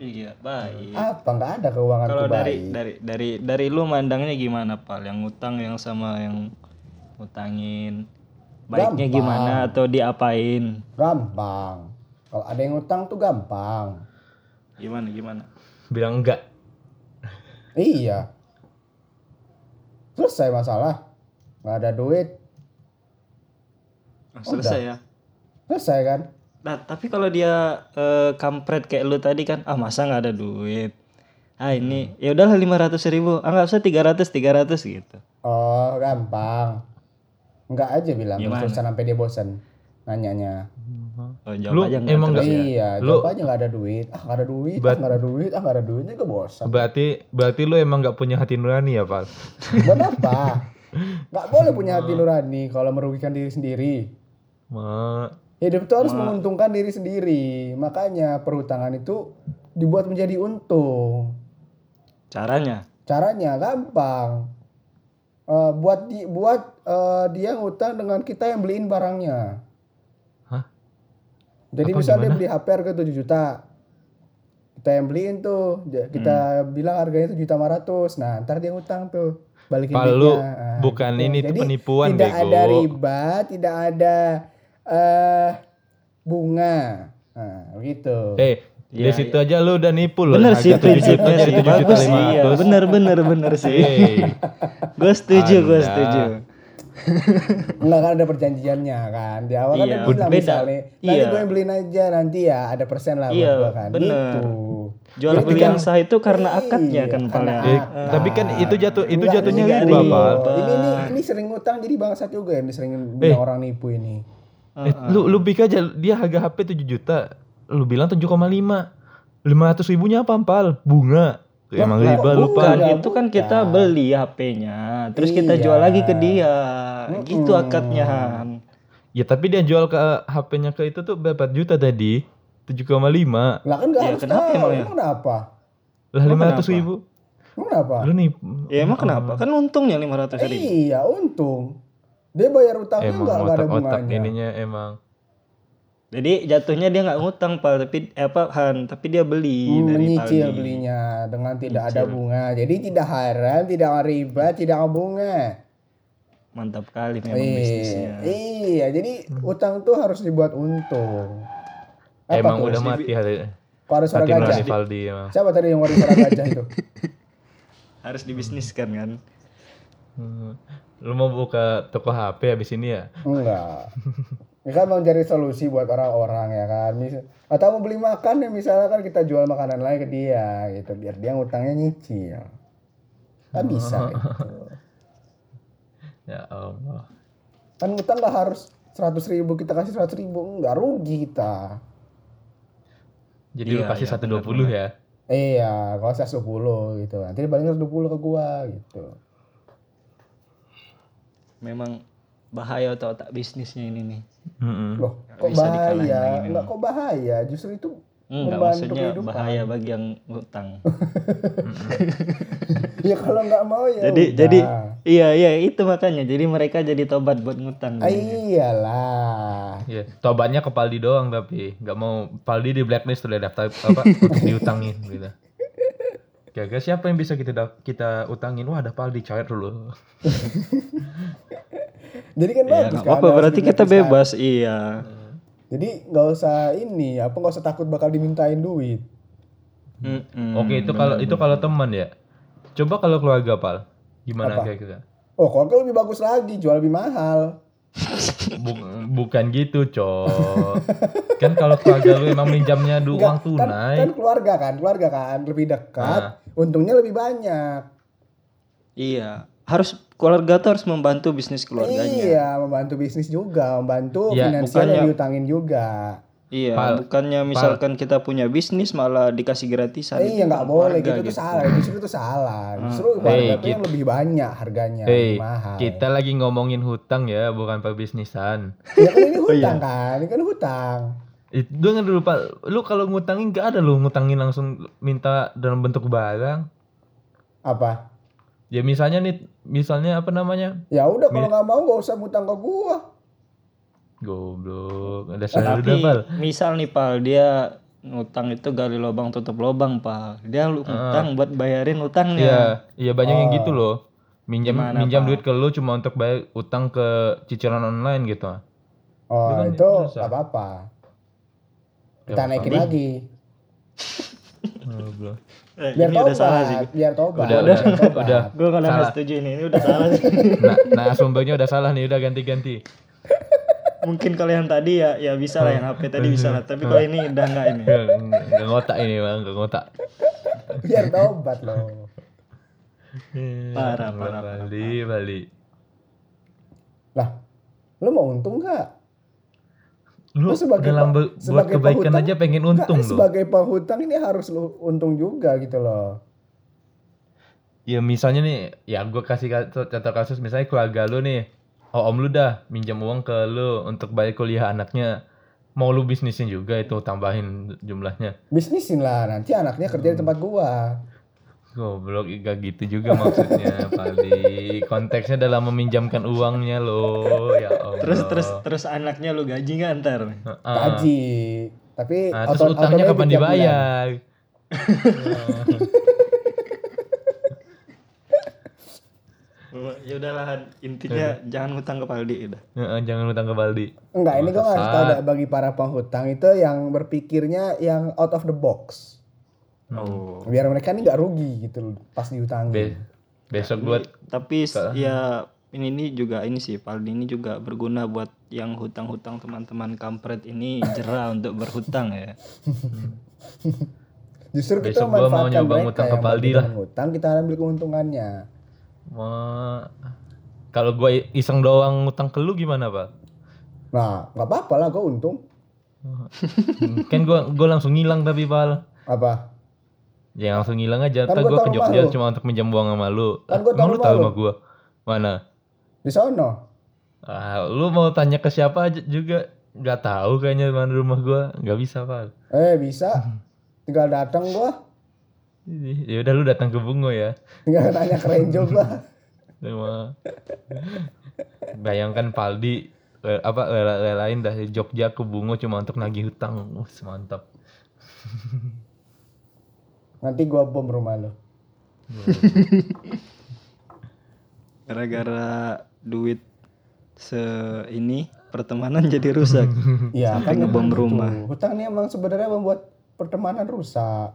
Speaker 4: Iya, baik.
Speaker 1: Apa? Nggak ada keuangan
Speaker 4: Kalau dari
Speaker 1: Ah, baik.
Speaker 4: dari dari dari lu mandangnya gimana, Pal? Yang ngutang yang sama yang ngutangin. Baiknya
Speaker 1: Gampang.
Speaker 4: gimana atau diapain?
Speaker 1: Gampang. Kalau ada yang utang tuh gampang.
Speaker 4: Gimana gimana?
Speaker 3: Bilang enggak.
Speaker 1: Iya. Selesai masalah. Nggak ada duit.
Speaker 4: Oh, selesai ya.
Speaker 1: Selesai kan?
Speaker 4: Nah, tapi kalau dia eh, kampret kayak lu tadi kan, ah masa nggak ada duit. Ah ini,
Speaker 3: Hmm.
Speaker 4: ya udahlah 500 ribu, ah nggak usah 300, 300 gitu.
Speaker 1: Oh, gampang. Enggak aja bilang
Speaker 4: Gimana?
Speaker 1: terus sampai dia bosan nanyanya.
Speaker 4: Oh,
Speaker 3: Lu
Speaker 4: jawab aja nggak
Speaker 3: emang
Speaker 4: terus
Speaker 3: nggak-
Speaker 4: ya.
Speaker 1: Iya,
Speaker 3: Lu-
Speaker 1: jawab aja nggak ada duit. Ah, nggak ada duit. Ah,
Speaker 3: Bat-
Speaker 1: nggak ada duit. Ah, nggak ada duitnya gue bosan.
Speaker 3: Berarti berarti lu emang nggak punya hati nurani ya, Pak?
Speaker 1: Buat apa? Nggak boleh punya hati nurani kalau merugikan diri sendiri.
Speaker 3: Ma,
Speaker 1: Hidup itu harus menguntungkan diri sendiri. Makanya perhutangan itu dibuat menjadi untung.
Speaker 4: Caranya.
Speaker 1: Caranya gampang. Eh, buat di buat eh, dia ngutang dengan kita yang beliin barangnya.
Speaker 3: Hah?
Speaker 1: Jadi
Speaker 3: Apa
Speaker 1: misalnya dia
Speaker 3: gimana?
Speaker 1: beli HP harga 7 juta. Kita yang beliin tuh, Ja- kita
Speaker 3: Hmm.
Speaker 1: bilang harganya 7 juta 500. Nah, ntar dia ngutang tuh. Balikin
Speaker 3: Pak,
Speaker 1: duitnya.
Speaker 3: lu
Speaker 1: Ah,
Speaker 3: bukan
Speaker 1: gitu.
Speaker 3: ini tuh
Speaker 1: Jadi,
Speaker 3: penipuan,
Speaker 1: Tidak
Speaker 3: bego.
Speaker 1: ada riba, tidak ada eh bunga. Nah, begitu.
Speaker 3: eh
Speaker 4: Iya,
Speaker 3: di situ aja lu udah nipu loh.
Speaker 4: Bener
Speaker 3: harga
Speaker 4: sih
Speaker 3: 7 juta
Speaker 4: prinsipnya
Speaker 3: jadi
Speaker 4: sih,
Speaker 3: 7 juta
Speaker 4: bagus sih. Iya,
Speaker 3: 500.
Speaker 4: bener bener bener sih.
Speaker 3: Eh,
Speaker 4: Gue setuju, gue
Speaker 3: Anda. Eh,
Speaker 4: setuju.
Speaker 1: Enggak kan ada perjanjiannya kan. Di awal kan
Speaker 4: Iya,
Speaker 1: dia bilang
Speaker 4: beda.
Speaker 1: misalnya, nanti
Speaker 4: Iya.
Speaker 1: gue beliin aja nanti ya ada persen lah buat
Speaker 4: Iya,
Speaker 1: gue kan.
Speaker 4: bener.
Speaker 1: Gitu.
Speaker 4: Jual
Speaker 1: Berarti
Speaker 4: beli
Speaker 1: kan-
Speaker 4: yang sah itu karena akadnya
Speaker 1: Iya,
Speaker 4: kan
Speaker 1: karena
Speaker 4: paling. Ah.
Speaker 3: Ya,
Speaker 1: akad.
Speaker 3: tapi kan itu jatuh- itu
Speaker 1: Enggak,
Speaker 3: jatuhnya
Speaker 1: enggak
Speaker 4: riba,
Speaker 1: riba.
Speaker 4: Pak.
Speaker 1: Ini, ini ini sering utang jadi bangsat juga ya, ini sering bilang orang nipu ini.
Speaker 3: Eh, lu lu pikir aja dia harga HP 7 juta, lu bilang 7,5. 500 ribunya apa ampal? Bunga.
Speaker 1: Lah,
Speaker 4: Ya,
Speaker 3: Emang
Speaker 1: lah,
Speaker 3: riba lupa.
Speaker 4: Bukan,
Speaker 1: Bukan,
Speaker 4: itu kan kita beli HP-nya, terus kita
Speaker 1: Iya.
Speaker 4: jual lagi ke dia. Gitu akadnya. Han.
Speaker 3: Ya tapi dia jual ke HP-nya ke itu tuh berapa juta tadi? 7,5.
Speaker 1: Lah kan enggak
Speaker 4: Iya,
Speaker 1: harus
Speaker 4: kenapa
Speaker 1: tahu.
Speaker 4: emang ya?
Speaker 1: Emang kenapa?
Speaker 3: Lah
Speaker 4: Emang
Speaker 3: 500
Speaker 4: kenapa?
Speaker 3: ribu.
Speaker 1: Emang kenapa?
Speaker 3: Lu nih.
Speaker 4: Ya emang kenapa? Kan untungnya 500 ribu.
Speaker 1: Iya, untung. Dia bayar utangnya
Speaker 3: Emang
Speaker 1: enggak enggak ada
Speaker 3: otak-otak
Speaker 1: bunganya.
Speaker 3: ininya emang.
Speaker 4: Jadi jatuhnya dia nggak ngutang pak, tapi eh, apa Han, tapi dia beli dari
Speaker 1: Hmm, menyicil
Speaker 4: Paldi.
Speaker 1: belinya dengan tidak ada bunga. Jadi tidak haram, tidak riba, tidak bunga.
Speaker 4: Mantap kali memang
Speaker 1: Iya,
Speaker 4: bisnisnya.
Speaker 1: iya. Jadi utang tuh harus dibuat untung. Apa
Speaker 3: emang
Speaker 1: tuh?
Speaker 3: udah mati hati.
Speaker 1: Kok ada suara
Speaker 3: Hati nurani
Speaker 1: gajah?
Speaker 3: Valdi emang.
Speaker 1: Siapa tadi yang ngomong suara gajah itu?
Speaker 4: Harus dibisniskan kan.
Speaker 3: Hmm. Lu mau buka toko HP habis ini ya?
Speaker 1: Enggak. Ya kan mau cari solusi buat orang-orang ya kan. Mis- atau mau beli makan ya misalnya kan kita jual makanan lain ke dia gitu biar dia ngutangnya nyicil. Kan bisa gitu.
Speaker 3: Ya Allah.
Speaker 1: Kan ngutang nggak harus 100 ribu kita kasih 100 ribu nggak rugi kita.
Speaker 3: Jadi lu
Speaker 4: Iya,
Speaker 3: kasih
Speaker 4: iya,
Speaker 3: 120 ya.
Speaker 1: Iya, kalau saya 10 gitu. Nanti dia balikin 120 ke gua gitu.
Speaker 4: Memang bahaya otak-otak bisnisnya ini nih. Hmm.
Speaker 3: Mm-mm.
Speaker 1: Loh,
Speaker 4: Nggak
Speaker 1: kok
Speaker 4: bisa dikalahin
Speaker 1: bahaya?
Speaker 4: lagi
Speaker 1: Enggak kok bahaya, justru itu
Speaker 4: Enggak
Speaker 1: membantu
Speaker 4: Hmm, maksudnya
Speaker 1: kehidupan.
Speaker 4: bahaya bagi yang ngutang.
Speaker 1: ya kalau nggak mau ya
Speaker 4: jadi
Speaker 1: udah.
Speaker 4: jadi iya iya itu makanya. Jadi mereka jadi tobat buat ngutang. Iya,
Speaker 1: Ah, iyalah.
Speaker 3: Iya, tobatnya ke Paldi doang tapi nggak mau Paldi di blacklist udah daftar apa untuk diutangin gitu. Kira-kira siapa yang bisa kita daf- kita utangin? Wah ada Paldi cair dulu.
Speaker 1: Jadi kan
Speaker 4: Ya,
Speaker 1: bagus
Speaker 4: nggak
Speaker 1: kan,
Speaker 4: apa-apa
Speaker 1: harus
Speaker 4: berarti kita
Speaker 1: digratiskan.
Speaker 4: bebas iya.
Speaker 1: Jadi nggak usah ini, apa nggak usah takut bakal dimintain duit.
Speaker 4: Mm-mm.
Speaker 3: Hmm. Oke itu kalau itu kalau teman ya. Coba kalau keluarga Pal, gimana
Speaker 1: Apa?
Speaker 3: kira-kira?
Speaker 1: Oh, kalau lebih bagus lagi, jual lebih mahal.
Speaker 3: Bu- bukan gitu cok. kan kalau keluarga lu emang minjamnya du uang
Speaker 1: Nggak, kan, kan
Speaker 3: tunai.
Speaker 1: keluarga kan, keluarga kan lebih dekat,
Speaker 4: Ah.
Speaker 1: untungnya lebih banyak.
Speaker 4: Iya, harus keluarga tuh harus membantu bisnis keluarganya.
Speaker 1: Iya, membantu bisnis juga, membantu
Speaker 3: Ya,
Speaker 1: finansial
Speaker 3: bukannya-
Speaker 1: yang diutangin juga.
Speaker 4: Iya,
Speaker 3: Pal-
Speaker 4: bukannya misalkan kita punya bisnis malah dikasih gratisan.
Speaker 1: Eh, iya nggak
Speaker 4: kan
Speaker 1: boleh
Speaker 4: keluarga
Speaker 1: gitu, tuh salah, justru itu salah.
Speaker 3: Hmm.
Speaker 1: Justru keluarga tuh yang lebih banyak harganya,
Speaker 3: Hei,
Speaker 1: lebih mahal.
Speaker 3: kita lagi ngomongin hutang ya, bukan perbisnisan.
Speaker 1: Ya kan ini
Speaker 3: Oh, iya.
Speaker 1: hutang kan, ini kan hutang.
Speaker 3: Itu dengar dulu Pak, lu kalau ngutangin gak ada lu ngutangin langsung minta dalam bentuk barang.
Speaker 1: Apa?
Speaker 3: Ya misalnya nih, misalnya apa namanya?
Speaker 1: Ya udah kalau nggak mau nggak usah ngutang ke gua.
Speaker 3: Goblok, ada
Speaker 4: Oh, Tapi
Speaker 3: selalu double.
Speaker 4: misal nih Pal, dia ngutang itu gali lubang tutup lubang, Pal. Dia lu ngutang buat bayarin utangnya.
Speaker 3: Ah. Iya, iya banyak yang gitu loh. Minjam
Speaker 4: Oh. Gimana,
Speaker 3: minjam duit ke lu cuma untuk bayar utang ke cicilan online gitu.
Speaker 1: Oh
Speaker 3: Bukan
Speaker 1: itu
Speaker 3: biasa.
Speaker 1: nggak apa-apa. Kita
Speaker 3: kan, iya, Nggak
Speaker 1: naikin
Speaker 3: apa-apa.
Speaker 1: lagi.
Speaker 3: Goblok.
Speaker 4: Eh,
Speaker 1: Biar
Speaker 4: ini
Speaker 1: tobat,
Speaker 4: udah salah sih.
Speaker 1: biar tobat.
Speaker 3: Udah,
Speaker 1: biar
Speaker 3: udah,
Speaker 1: tobat.
Speaker 3: udah.
Speaker 4: Gue kalau nggak
Speaker 3: Salah.
Speaker 4: setuju ini, ini udah salah sih.
Speaker 3: Nah, nah sumbernya udah salah nih, udah ganti-ganti.
Speaker 4: Mungkin kalau yang tadi ya ya bisa lah yang HP tadi bisa lah, tapi
Speaker 3: Ah.
Speaker 4: kalau ini udah nggak ini.
Speaker 3: Nggak nggak ngotak ini, Bang, nggak ngotak.
Speaker 1: Biar tobat loh.
Speaker 4: Parah, parah, parah.
Speaker 3: Bali, Bali.
Speaker 1: Lah, lu mau untung nggak? Lu
Speaker 3: Lu
Speaker 1: sebagai
Speaker 3: dalam
Speaker 1: pe-
Speaker 3: be- buat
Speaker 1: sebagai
Speaker 3: kebaikan
Speaker 1: penghutang,
Speaker 3: aja
Speaker 1: Nggak,
Speaker 3: pengen
Speaker 1: eh,
Speaker 3: untung lu.
Speaker 1: sebagai penghutang ini harus lu untung juga gitu loh.
Speaker 3: Ya misalnya nih, ya gue kasih ka- contoh kasus misalnya keluarga lu nih, oh om lu dah minjam uang ke lu untuk bayar kuliah anaknya, mau lu bisnisin juga itu tambahin jumlahnya.
Speaker 1: Bisnisin lah nanti anaknya kerja di tempat gua.
Speaker 3: Goblok, gak gitu juga maksudnya, Pali. Konteksnya dalam meminjamkan uangnya lo, ya Allah.
Speaker 4: Terus terus terus anaknya lu gaji nggak ntar?
Speaker 3: Ah,
Speaker 1: Gaji. Tapi
Speaker 3: ah,
Speaker 1: auto-
Speaker 3: terus
Speaker 1: automatic
Speaker 3: utangnya kapan
Speaker 1: tiap bulan.
Speaker 3: dibayar?
Speaker 4: Ya udahlah Han. intinya
Speaker 3: Iya.
Speaker 4: jangan ngutang ke Paldi udah.
Speaker 3: Heeh, jangan utang ke Baldi.
Speaker 1: Enggak, ini gua ngasih tau
Speaker 3: Tersesat.
Speaker 1: dah, bagi para penghutang itu yang berpikirnya yang out of the box.
Speaker 3: Hmm.
Speaker 4: Oh.
Speaker 1: Iya. biar mereka nih nggak rugi gitu loh pas diutangin.
Speaker 3: Be- besok buat
Speaker 4: Tapi s- ya ini ini juga ini sih Paldi ini juga berguna buat yang hutang-hutang teman-teman kampret ini jerah untuk berhutang ya.
Speaker 1: Justru kita
Speaker 3: Besok gua mau
Speaker 1: manfaatkan
Speaker 3: nyoba
Speaker 1: mereka
Speaker 3: ngutang ke
Speaker 1: yang
Speaker 3: Paldi
Speaker 1: berhutang,
Speaker 3: lah.
Speaker 1: ngutang kita ambil keuntungannya.
Speaker 3: Wah, kalau gue iseng doang ngutang ke lu gimana pak?
Speaker 1: Nah, nggak apa-apa lah gue untung.
Speaker 3: kan gue gue langsung ngilang tapi pal.
Speaker 1: Apa?
Speaker 3: Ya langsung ngilang aja.
Speaker 1: Kan
Speaker 3: Ntar
Speaker 1: gua
Speaker 3: gue
Speaker 1: tahu
Speaker 3: ke
Speaker 1: rumah
Speaker 3: Jogja
Speaker 1: lu.
Speaker 3: cuma untuk minjam uang sama lu.
Speaker 1: Kan gua
Speaker 3: Emang
Speaker 1: tahu
Speaker 3: lu tahu
Speaker 1: rumah
Speaker 3: sama gue? Mana?
Speaker 1: Di sono.
Speaker 3: Ah, lu mau tanya ke siapa aja juga? Gak tahu kayaknya mana rumah gue. Gak bisa pal.
Speaker 1: Eh
Speaker 3: Mhm.
Speaker 1: bisa. Tinggal datang gua.
Speaker 3: Ya udah lu datang ke Bungo ya.
Speaker 1: Tinggal nanya ke Renjo gua.
Speaker 3: Cuma bayangkan Paldi eh, apa rela- relain dari Jogja ke Bungo cuma untuk nagih hutang. Wah, mantap.
Speaker 1: Nanti gua bom rumah lo.
Speaker 4: Gara-gara duit se ini pertemanan jadi rusak.
Speaker 1: Iya,
Speaker 4: Sampai
Speaker 1: kan
Speaker 4: ngebom
Speaker 1: memang
Speaker 4: rumah.
Speaker 1: gitu. Hutang ini emang sebenarnya membuat pertemanan rusak.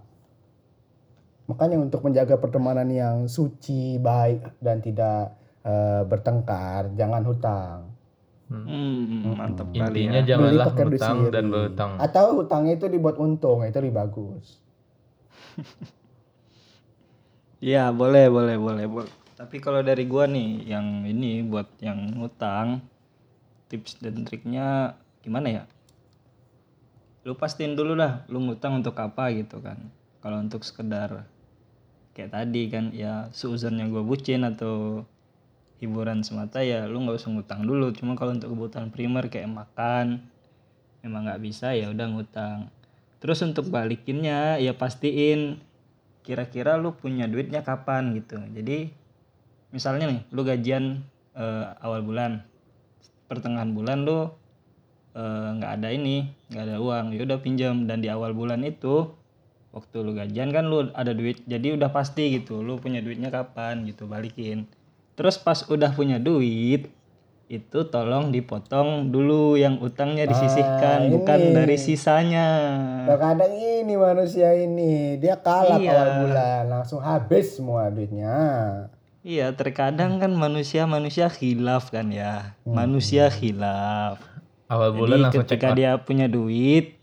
Speaker 1: Makanya untuk menjaga pertemanan yang suci, baik dan tidak eh, bertengkar, jangan hutang.
Speaker 4: Hmm, mantap kali
Speaker 3: Intinya
Speaker 4: ya.
Speaker 3: janganlah
Speaker 1: pakai duit
Speaker 3: hutang dan
Speaker 1: sendiri.
Speaker 3: berhutang.
Speaker 1: Atau hutangnya itu dibuat untung, itu lebih bagus.
Speaker 4: Iya, boleh, boleh, boleh, boleh. Tapi kalau dari gua nih yang ini buat yang ngutang tips dan triknya gimana ya? Lu pastiin dulu lah lu ngutang untuk apa gitu kan. Kalau untuk sekedar kayak tadi kan ya seuzonnya gua bucin atau hiburan semata ya lu nggak usah ngutang dulu cuma kalau untuk kebutuhan primer kayak makan memang nggak bisa ya udah ngutang terus untuk balikinnya ya pastiin kira-kira lu punya duitnya kapan gitu jadi misalnya nih lu gajian eh, awal bulan pertengahan bulan lu eh, nggak ada ini nggak ada uang ya udah pinjam dan di awal bulan itu waktu lu gajian kan lu ada duit jadi udah pasti gitu lu punya duitnya kapan gitu balikin terus pas udah punya duit itu tolong dipotong dulu yang utangnya disisihkan bukan
Speaker 1: ini.
Speaker 4: dari sisanya
Speaker 1: Terkadang ini manusia ini, dia kalap
Speaker 4: Iya.
Speaker 1: awal bulan, langsung habis semua duitnya.
Speaker 4: Iya, terkadang kan manusia-manusia khilaf kan ya. Manusia khilaf.
Speaker 3: Awal bulan
Speaker 4: Jadi
Speaker 3: langsung cek
Speaker 4: ketika dia punya duit,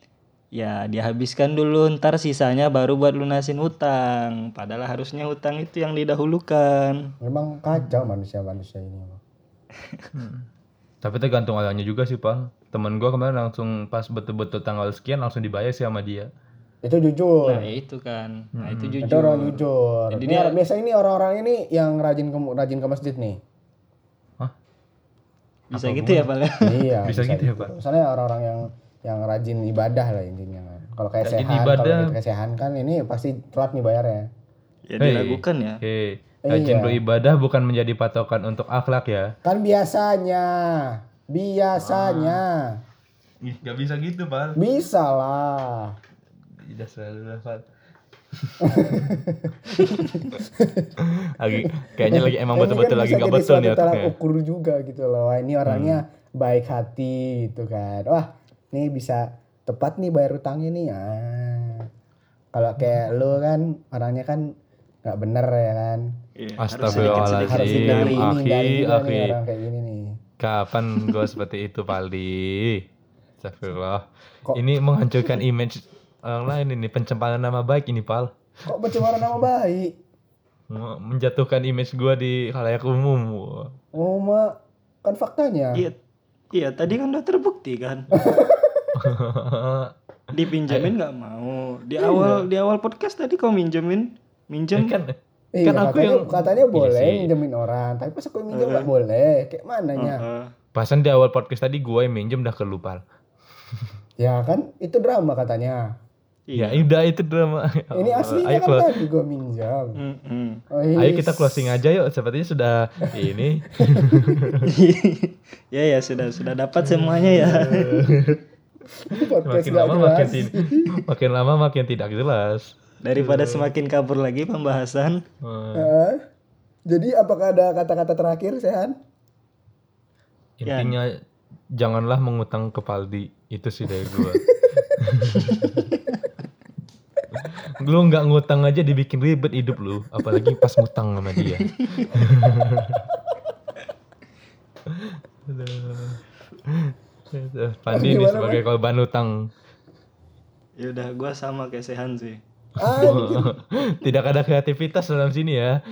Speaker 4: ya dihabiskan dulu, ntar sisanya baru buat lunasin hutang. Padahal harusnya hutang itu yang didahulukan.
Speaker 1: Memang kacau manusia-manusia ini.
Speaker 3: Tapi tergantung orangnya juga sih, Pak. Temen gua kemarin langsung pas betul-betul tanggal sekian langsung dibayar sih sama dia.
Speaker 1: Itu
Speaker 3: Oh.
Speaker 1: jujur.
Speaker 4: Nah, itu kan. Nah, itu
Speaker 3: Hmm.
Speaker 1: Itu orang
Speaker 4: jujur.
Speaker 1: jujur.
Speaker 4: Jadi
Speaker 1: ini
Speaker 4: dia-
Speaker 1: orang- biasanya ini orang-orang ini yang rajin ke rajin ke masjid nih.
Speaker 4: Bisa gitu ya, Pak.
Speaker 1: iya.
Speaker 3: Bisa gitu ya, Pak?
Speaker 1: Misalnya orang-orang yang yang rajin ibadah lah intinya. kan. Kalau kayak
Speaker 3: Rajin
Speaker 1: sehan, kalau
Speaker 3: ibadah.
Speaker 1: kayak sehan kan ini pasti telat nih bayarnya.
Speaker 4: Ya dilakukan ya.
Speaker 3: Hei,
Speaker 1: Iya.
Speaker 3: rajin beribadah bukan menjadi patokan untuk akhlak ya.
Speaker 1: Kan biasanya, biasanya
Speaker 3: Ah. Ih, Gak bisa gitu, Pak.
Speaker 1: bisa lah.
Speaker 3: Tidak selalu lah, Pak. lagi, kayaknya lagi emang
Speaker 1: Ini
Speaker 3: betul-betul
Speaker 1: kan
Speaker 3: lagi
Speaker 1: bisa
Speaker 3: gak
Speaker 1: jadi
Speaker 3: betul Hmm.
Speaker 1: suatu
Speaker 3: nih
Speaker 1: tolak
Speaker 3: otaknya.
Speaker 1: ukur juga gitu loh. Wah, ini orangnya baik hati gitu kan. Wah, ini bisa tepat nih bayar utangnya nih. Ah. Kalau
Speaker 3: Hmm.
Speaker 1: kayak lu kan orangnya kan nggak bener ya kan.
Speaker 4: Iya, harus sedikit-sedikit.
Speaker 1: Harus
Speaker 3: Astagfirullahaladzim, Ah.
Speaker 1: hindari ini, hindari
Speaker 3: akhi,
Speaker 1: juga nih
Speaker 3: akhi.
Speaker 1: orang kayak gini nih.
Speaker 3: Kapan gue seperti itu, Paldi? Astagfirullah.
Speaker 1: Kok-
Speaker 3: Ini menghancurkan image orang lain ini, pencemaran nama baik ini, Pal.
Speaker 1: Kok pencemaran nama baik?
Speaker 3: menjatuhkan image gua di khalayak umum. Wah.
Speaker 1: Oh, ma, kan faktanya.
Speaker 4: Iya. Iya, tadi kan udah terbukti kan. Dipinjamin nggak mau. Di
Speaker 3: Iya.
Speaker 4: awal di awal podcast tadi kau minjemin minjem
Speaker 3: Ya kan
Speaker 1: Iya,
Speaker 3: kan aku
Speaker 1: katanya,
Speaker 3: yang
Speaker 1: katanya
Speaker 3: Iya
Speaker 1: boleh
Speaker 3: sih.
Speaker 1: minjemin orang, tapi pas aku minjem nggak boleh. Kayak
Speaker 4: Oh,
Speaker 1: mananya?
Speaker 4: Heeh.
Speaker 3: Pasan di awal podcast tadi gua yang minjem dah kelupal.
Speaker 1: Ya kan, itu drama katanya.
Speaker 3: Ya
Speaker 4: iya.
Speaker 3: udah itu drama.
Speaker 1: Iya. Ini aslinya
Speaker 3: Ya ayo
Speaker 1: kan
Speaker 3: close.
Speaker 1: tadi gue minjam.
Speaker 4: Mm-mm.
Speaker 1: Oh,
Speaker 3: Ayo
Speaker 1: is.
Speaker 3: kita closing aja yuk. Sepertinya sudah ini.
Speaker 4: ya ya sudah sudah dapat semuanya ya.
Speaker 1: podcast
Speaker 3: makin
Speaker 1: gak
Speaker 3: lama
Speaker 1: jelas.
Speaker 3: makin tidak makin lama makin tidak jelas.
Speaker 4: Daripada semakin kabur lagi pembahasan.
Speaker 3: Eh,
Speaker 1: Hah? Jadi apakah ada kata-kata terakhir Sehan?
Speaker 3: Intinya janganlah mengutang ke Paldi. Itu sih dari gua. lu nggak ngutang aja dibikin ribet hidup lu apalagi pas ngutang sama dia Pandi nih sebagai korban utang.
Speaker 4: ya udah gue sama kayak Sehan sih
Speaker 1: Ah, gitu.
Speaker 3: Tidak ada kreativitas dalam sini ya.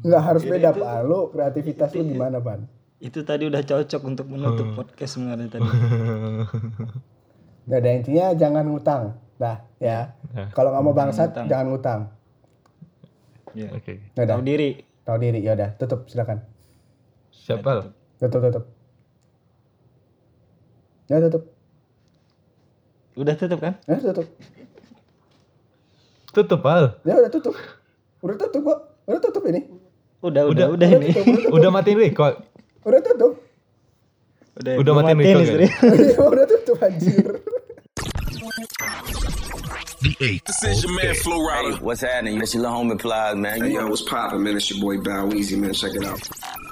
Speaker 1: Nggak harus beda, Pan. Lu kreativitas lu gimana, Pan?
Speaker 4: itu tadi udah cocok untuk menutup podcast sebenarnya tadi
Speaker 1: Nggak ada intinya jangan ngutang. Nah, ya. Kalau nggak mau bangsat, jangan ngutang.
Speaker 4: ya
Speaker 3: Oke.
Speaker 1: Nggak ada.
Speaker 4: tahu diri
Speaker 1: Tahu diri, ya udah. Tutup, silakan.
Speaker 3: Siapa? lah?
Speaker 1: Tutup, tutup. Ya tutup.
Speaker 4: udah tutup kan
Speaker 1: Ya tutup.
Speaker 3: Tutup Al.
Speaker 1: Ya udah tutup. Udah tutup kok. Udah tutup ini.
Speaker 4: udah udah
Speaker 3: Eh,
Speaker 4: udah, ini
Speaker 1: Tutup, udah tutup.
Speaker 3: Udah matiin record.
Speaker 1: Udah tutup.
Speaker 3: Udah
Speaker 4: gua
Speaker 3: matiin
Speaker 4: matiin
Speaker 3: record
Speaker 4: listrik.
Speaker 1: Iya, udah tutup anjir.
Speaker 2: The Eight
Speaker 5: Decision man,
Speaker 2: Podcast.
Speaker 5: Flow Rider.
Speaker 6: Hey, what's happening? It's your little homie Plies, man. You
Speaker 7: Hey, yo, what's poppin', man? It's your boy Bow Weezy, man. Check it out.